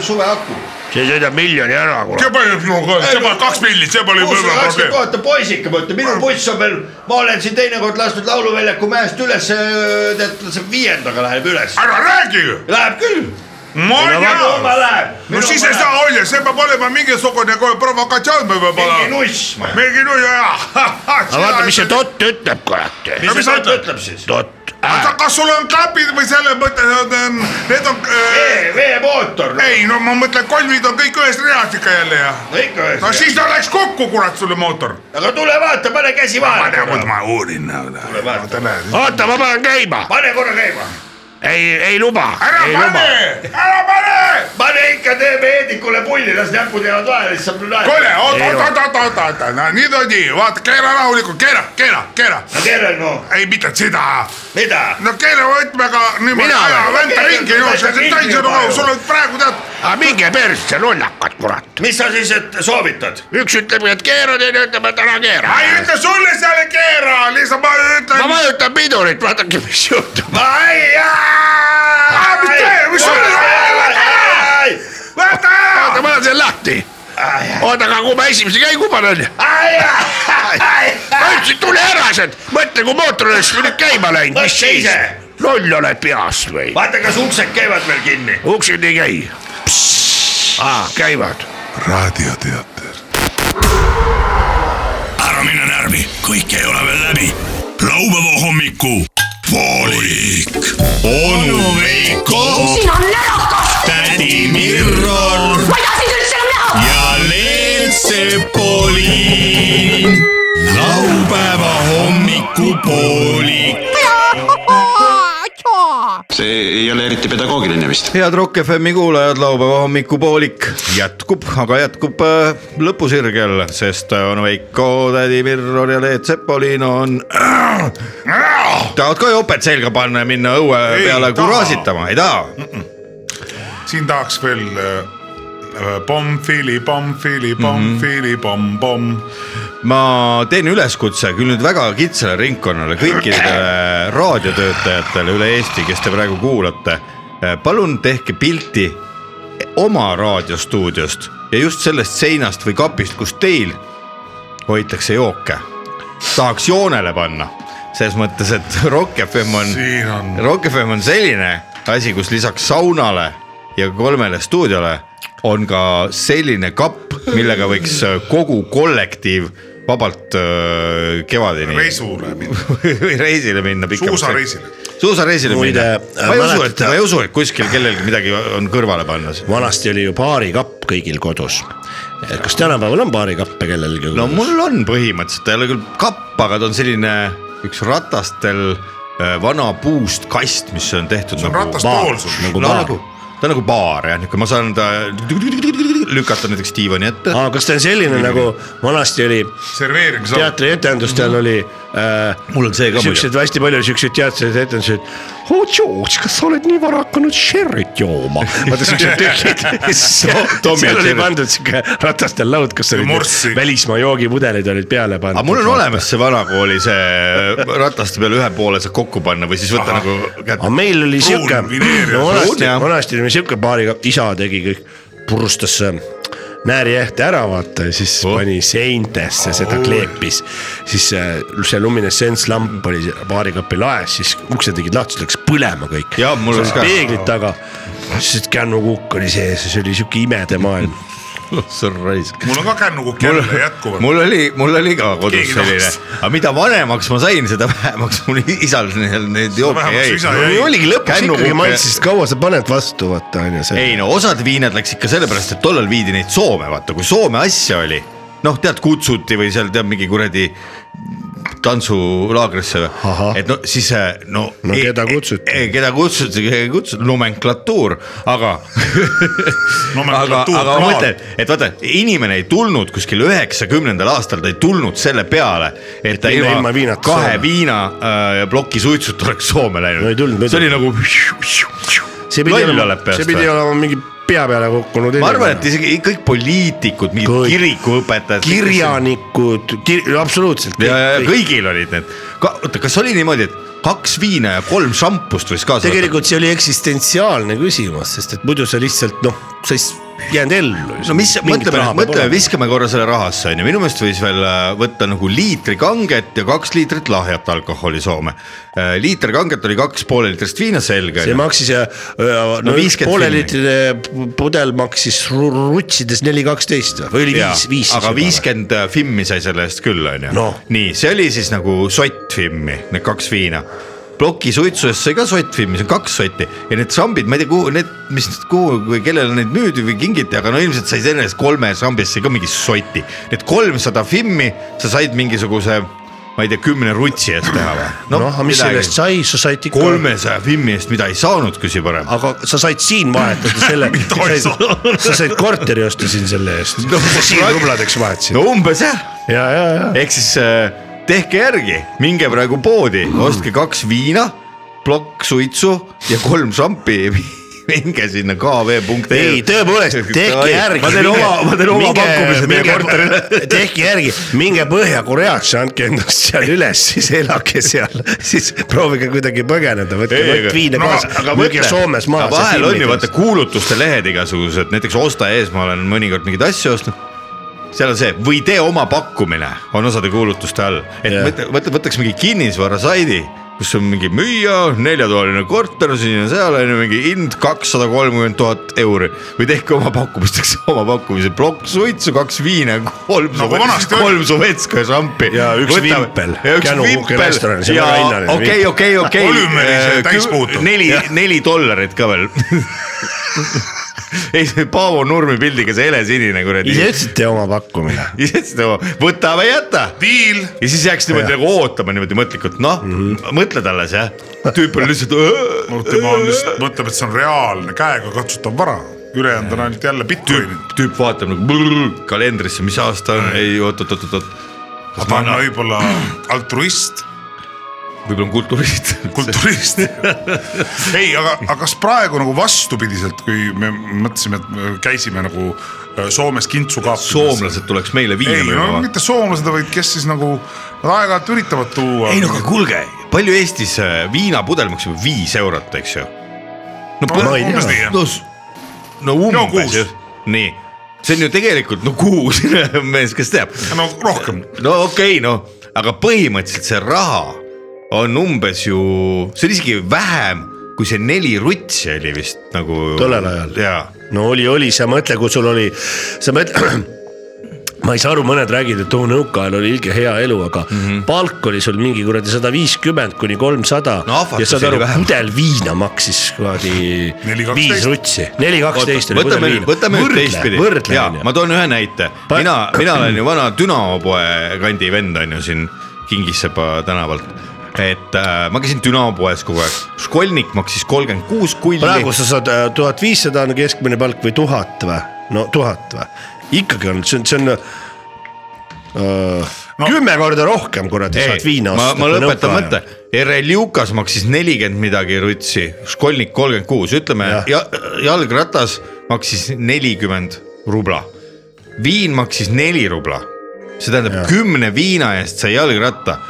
suveaku .
see sõidab miljoni ära , kurat .
see paneb minuga , see paneb kaks milli , see paneb
kuussada
võib-olla
kakskümmend
probleem .
tuhat on poisike , ma ütlen , minu buss on veel , ma olen siin teinekord lasknud Lauluväljaku mäest üles , tead , see viiendaga läheb üles .
ära räägi ju ,
Läheb küll ,
ma ei tea , no siis ei saa olla , see peab olema mingisugune kohe provokatsioon peab olema .
nuss .
mingi no jaa .
aga vaata , mis see tott ütleb , kurat .
No mis
tott ütleb siis ?
tott .
oota , kas sul on klapid või selles mõttes , et ähm, need on ,
Eh.
veemootor ,
ei eh, no ma mõtlen , kolmid on kõik ühes reas ikka jälle ja .
no ikka
Eh.
no
ühesõnaga .
siis ta läks kokku , kurat , sulle mootor .
aga tule vaata , pane käsi vahele .
ma uurin .
oota , ma panen käima .
pane korra käima .
ei , ei luba .
ära
ei
pane , ära pane .
pane ikka , teeme Heedikule pulli , las näpud jäävad vahele , siis saab naerda .
kuule ,
Eh,
oota , oota , oota , oota , oota , no nüüd on nii , vaata , keera rahulikult , keera , keera , keera .
keera no ,
ei , mitte seda
mida ?
no keele võtmega niimoodi
Mina
aja
või?
vänta ringi , no see on täis on au , sul on praegu tead ,
aga Ah, minge persse , lollakad , kurat .
mis sa siis et soovitad ?
üks ütleb , et keera , teine ütleb , et ära keera
ma . ei ütle sulle seal ei keera , lihtsalt ma
ma
ütlen .
vajutan pidurit , vaadake , mis juhtub . oota , ma olen seal lahti . oota , aga kui ma esimese käigu panen . ma ütlesin , tule ära sealt , mõtle , kui mootor oleks nüüd käima läinud , mis
Mõtle
siis
ise. .
loll oled peast või ?
vaata , kas uksed käivad veel kinni .
uksed ei Ah, käi . aa , käivad .
raadioteater .
ära mine närvi , kõik ei ole veel läbi . laupäeva hommiku . poolik . onu Veiko ,
sina närakas ,
tädi Mirro
ma ei taha sind üldse enam näha .
ja Leelsepoliin . laupäeva hommikupoolik .
see ei ole eriti pedagoogiline vist .
head Rock FM-i kuulajad , laupäeva hommikupoolik jätkub , aga jätkub äh, lõpusirgel , sest äh, on Veiko , tädi Mirror ja Leet Sepolino on . tahavad ka jopet selga panna ja minna õue
Ei
ei peale
taha.
kuraasitama , ei taha .
siin tahaks veel äh, pommfili , pommfili ,
Mhm.
pommfili , pomm-pomm .
ma teen üleskutse küll nüüd väga kitsale ringkonnale , kõikidele raadiotöötajatele üle Eesti , kes te praegu kuulate . palun tehke pilti oma raadiostuudiost ja just sellest seinast või kapist , kus teil hoitakse jooke . tahaks joonele panna , selles mõttes , et Rock FM on ,
siin on ,
Rock FM on selline asi , kus lisaks saunale ja kolmele stuudiole on ka selline kapp , millega võiks äh, kogu kollektiiv vabalt öö, kevadeni
reisule mind ,
või reisile minna .
suusareisile .
suusareisile minna
Muide, .
ma ei usu , et ,
mäletate-
ma ei usu , et kuskil kellelgi midagi on kõrvale panna .
vanasti oli ju baarikapp kõigil kodus . kas tänapäeval on baarikappe kellelgi ?
no mul on põhimõtteliselt , ta ei ole küll kapp , aga ta on selline üks ratastel äh, vana puust kast , mis on tehtud
see on
nagu .
ratastool sul .
nagu
no
baar
nagu , ta on nagu baar jah , niisugune , ma saan ta lükata näiteks diivani ette .
aa , kas ta on selline nagu vanasti oli
serveerimise .
teatrietendustel oli äh,
mul on see Mhm. ka muidu .
siuksed hästi palju siukseid teatreid etendusi , et oo George , kas sa oled nii vara hakanud sherryt jooma ? vaata siuksed tükid
Tommy
seal oli
Sherry.
pandud siuke ratastel laud , kus olid
morssi.
välismaa joogipudelid olid peale pandud .
aga mul on olemas see vanakooli see rataste peal ühe poole saab kokku panna või siis võtta nagu
aga
kätte .
meil oli siuke ,
vineer ja
no
pruun,
vanasti ,
jah.
vanasti oli meil siuke baariga , isa tegi kõik , purustas äh, nääriehte ära vaata ja siis oh. pani seintesse
Oh.
seda kleepis . siis äh, see luminescentslamp oli baarikapi laes , siis uksed tegid lahti , siis läks põlema kõik .
Jaa, mul läks ka.
peeglid taga , siis kännukukk oli sees ja see oli siuke imede maailm .
raisk .
mul on ka kännukukk jälle jätkuvalt .
mul oli , mul oli ka kodus
Keegi
selline
tahtis. ,
aga mida vanemaks ma sain , seda vähemaks mul isal neid neid jooke
vähemaks
jäi
isa jäi. Ei, .
oligi lõpuks ikkagi maitsesid , kaua sa paned vastu , vaata on ju see .
ei no osad viinad läks ikka sellepärast , et tollal viidi neid Soome , vaata kui Soome asja oli , noh , tead kutsuti või seal tead mingi kuradi tantsulaagrisse või
Ahah. ,
et no siis eh, no .
No keda kutsuti?
keda kutsuti , keda kutsuti , nomenklatuur , aga aga ,
Nomenklatuur,
aga ma
praad.
mõtlen , et vaata , inimene ei tulnud kuskil üheksakümnendal aastal , ta ei tulnud selle peale , et ta
minna
ilma
ilma viinata
kahe
Soome.
viina äh, ja ploki suitsut oleks Soome läinud .
No ei tulnud, ei
see oli nagu .
see pidi
loll
olema
oled , peast
see pidi
või?
olema mingi pea peale kukkunud .
ma arvan , et isegi kõik poliitikud , mingid
Kõik.
kirikuõpetajad .
kirjanikud kir , absoluutselt .
ja , ja kõigil olid need , oota , kas oli niimoodi , et kaks viina ja kolm šampust võis kaasa
tegelikult see oli eksistentsiaalne küsimus , sest et muidu sa lihtsalt noh , sa ei jäänud ellu .
no mis , mõtleme , mõtleme ,. viskame korra selle rahasse onju , minu meelest võis veel äh, võtta nagu liitri kanget ja kaks liitrit lahjat alkoholi Soome . liiter kanget oli kaks poole liitrist viina , selge .
see maksis ja no, no üks pooleliitrine pudel maksis ru- rutsides neli kaksteist või oli viis , viis
aga . viiskümmend Fimmi sai selle eest küll , onju . nii , see oli siis nagu sott Fimmi , need kaks viina . ploki suitsu eest sai ka sott Fimmi , see on kaks sotti ja need sambid , ma ei tea , kuhu need , mis , kuhu või kellele need müüdi või kingiti , aga no ilmselt sai selle eest kolme sambist sai ka mingi sotti . Need kolmsada Fimmi sa said mingisuguse , ma ei tea , kümne rutsi eest teha või ?
noh , aga mis selle eest sai , sa said ikka .
kolmesaja Fimmi eest , mida ei saanud , küsi parem .
aga sa said siin vahetada selle sa said korteri osta siin selle eest
No,
no, . siin
praegu-
rubladeks vahetasid .
no umbes jah .
ja , ja , ja .
ehk siis äh, tehke järgi , minge praegu poodi , ostke kaks viina , plokk suitsu ja kolm šampi . minge sinna kv.ee .
ei , tõepoolest , tehke järgi .
ma teen oma , ma teen oma pakkumise teie korterile .
tehke järgi , minge Põhja-Koreasse , andke endast seal üles , siis elage seal , siis proovige kuidagi põgeneda , võtke
Ei, aga-
võtt viina
no,
kaasa
aga ,
müüge
mõtle,
Soomes
aga
maha .
vahel on ju vaata kuulutuste lehed igasugused , näiteks osta ees ma olen mõnikord mingeid asju ostnud . seal on see või tee oma pakkumine on osade kuulutuste all , et
Jah.
yeah. võta , võtaks mingi kinnisvarasaidi , kus on mingi müüja , neljatoaline korter siin ja seal on ju mingi hind kakssada kolmkümmend tuhat euri või tehke oma pakkumist , tehakse oma pakkumise , plokk suitsu , kaks viina , kolm
Nagu vanasti
no, ,
oli.
kolm suvetska ja šampi .
Ja üks vimpel.
ja üks
Känu Kuke
vimpel
restoranis, see on
ja
väga hinnaline
okei ,
vimpel.
okei , okei .
Volüümilise täispuutu.
neli
Jah. ,
neli dollarit ka veel . ei , see Paavo Nurmi pildiga see helesinine kuradi .
ise ütlesite oma pakkumine .
ise ütlesid oma , nagu, võta või jäta .
Deal .
ja siis jääks niimoodi
Jah.
nagu ootama niimoodi mõtlikult , noh mm -hmm. , mõtled alles jah . tüüp on lihtsalt .
tema on lihtsalt , mõtleb , et see on reaalne käegakatsutav vara , ülejäänud on ainult jälle Bitcoinid .
tüüp vaatab nagu brrr, kalendrisse , mis aasta on , ei oot , oot , oot , oot .
aga ta on võib-olla altruist .
võib-olla on kulturist .
kulturist . ei , aga , aga kas praegu nagu vastupidiselt , kui me mõtlesime , et me käisime nagu äh, Soomes kintsu kaapimas .
soomlased tuleks meile viina
ei ,
müüma
no
või ?
mitte soomlased , vaid kes siis nagu nad aeg-ajalt üritavad tuua .
ei no aga kuulge , palju Eestis äh, viinapudel maksab viis eurot , eks ju ? no,
No ma ei umbes tea. nii, jah.
no, s- no umbes
kuus.
jah , nii , see on ju tegelikult no kuus mees , kes teab .
no rohkem .
no okei okay, , noh , aga põhimõtteliselt see raha on umbes ju , see on isegi vähem kui see neli rutsi oli vist nagu .
Tollel ajal.
jaa ,
no oli , oli , sa mõtle , kui sul oli , sa mõtle ma ei saa aru , mõned räägivad , et oo nõukaajal oli ilge hea elu , aga mm
Mhm.
-hmm. palk oli sul mingi kuradi sada viiskümmend kuni kolmsada
No ahvatlus
ja saad
oli
aru ,
vähem.
pudel viina maksis kuradi
Neli kaksteist.
viis rutsi , neli kaksteist oli
võtame
pudel
nüüd ,
viina .
võtame nüüd teistpidi
võrdle ,
ja
onju .
ma toon ühe näite ,
Pa-
mina , mina olen ju vana Dünamo poe kandi vend on ju siin Kingissepa tänavalt . et äh, ma käisin Dünamo poes kogu aeg , Školnik maksis kolmkümmend kuus kulli .
praegu sa saad tuhat viissada on keskmine palk või tuhat või , no tuhat või , ikkagi on , see on , see on äh, no. kümme korda rohkem kuradi saad viina
ma
osta .,
ma lõpetan mõtte , R.L. Jukas maksis nelikümmend midagi rutsi , Školnik kolmkümmend kuus , ütleme
Jah.
ja. , jalgratas maksis nelikümmend rubla . viin maksis neli rubla , see tähendab kümne viina eest sai jalgratta .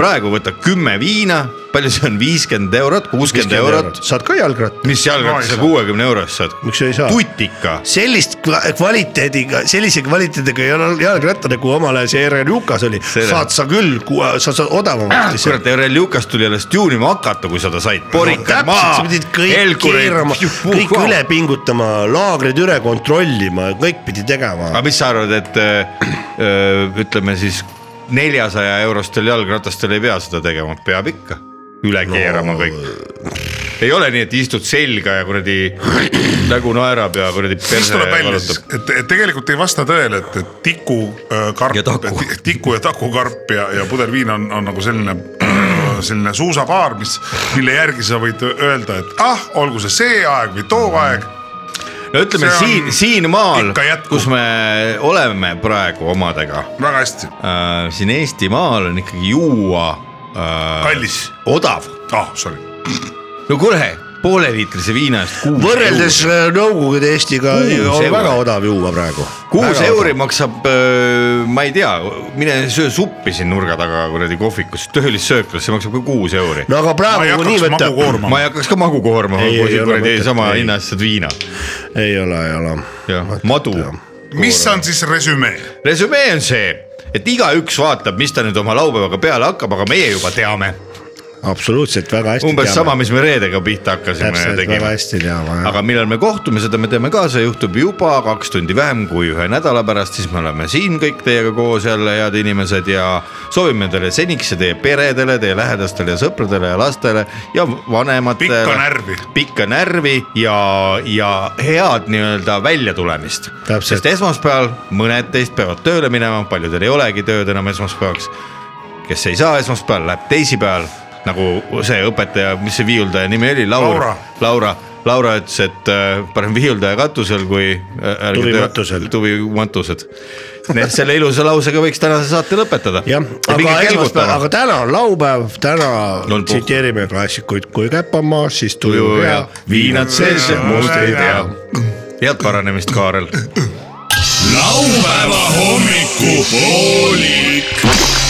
praegu võta kümme viina , palju see on , viiskümmend eurot , kuuskümmend eurot ,
saad ka jalgratta ,
mis
No ei
jalgratta sa
saa.
kuuekümne eurost saad ?
miks ei saa ?
tutika ,
sellist kva- kvaliteediga , sellise kvaliteediga jal- jalgratta nagu omal ajal see ERR Jukas oli ,
Selle-
saad sa küll , sa saad odavamalt .
kurat , R.L. Jukas tuli alles tuunima hakata , kui sa ta said .
täpselt , sa pidid kõik keerama , kõik üle pingutama , laagrid üle kontrollima , kõik pidi tegema .
aga mis sa arvad , et äh, äh, ütleme siis neljasaja eurostel jalgratastel ei pea seda tegema , peab ikka üle keerama no. kõik .
äh.
ei ole nii , et istud selga ja kuradi nägu naerab ja kuradi
siis
perse
tuleb välja siis
valutab ,.
et et tegelikult ei vasta tõele , et , et tiku äh,
Ja
karp
taku. ,
tiku ja taku karp ja , ja pudelviin on , on nagu selline äh, selline suusapaar , mis , mille järgi sa võid öelda , et ah , olgu see see aeg või too aeg ,
no ütleme
see on
siin , siin maal
ikka jätkuv. ,
kus me oleme praegu omadega
väga hästi ,
äh, , siin Eestimaal on ikkagi juua äh,
kallis ,
odav .
ah sorry ,
no kuule , pooleliitrise viina eest kuus .
võrreldes äh, Nõukogude Eestiga
Kuus
on
euri.
väga odav juua praegu .
kuus euri maksab äh, ma ei tea , mine söö suppi siin nurga taga kuradi kohvikus , töölissööklas , see maksab ka kuus euri .
no aga praegu Ma ei kui nii hakkaks võtta- magu koormama.
ma ei hakkaks ka magu koormama ,
Ei,
kui
ei
sa
ole
kuradi
mõtet,
sama
ei.
hinna eest saad viina .
ei ole , ei ole .
jah , madu .
mis on siis resümee ?
resümee on see , et igaüks vaatab , mis ta nüüd oma laupäevaga peale hakkab , aga meie juba teame .
absoluutselt väga hästi
umbes
teame.
sama , mis me reedega pihta hakkasime ja
täpselt , väga
tegime .
hästi teame jah .
aga millal me kohtume , seda me teeme ka , see juhtub juba kaks tundi vähem kui ühe nädala pärast , siis me oleme siin kõik teiega koos jälle , head inimesed ja soovime teile seniks ja teie peredele , teie lähedastele ja sõpradele ja lastele ja vanematele .
Pikka närvi.
pikka närvi ja , ja head nii-öelda väljatulemist . sest esmaspäeval mõned teist peavad tööle minema , paljudel ei olegi tööd enam esmaspäevaks kes ei saa esmaspäeval , läheb teisipäeval nagu see õpetaja , mis see viiuldaja nimi oli , Laura
Laura. ,
Laura , Laura ütles , et äh, parem viiuldaja katusel kui äh, ärge töö-
Tuvimatusel.
tuvimatused . selle ilusa lausega võiks tänase saate lõpetada .
jah , aga esmaspäev , aga täna on laupäev , täna
No, puh-
tsiteerime klassikuid , kui käpp on maas , siis tuju
tuju ja
hea .
viinad sees ja muud ei tea . head paranemist , Kaarel .
laupäeva hommikupoolik .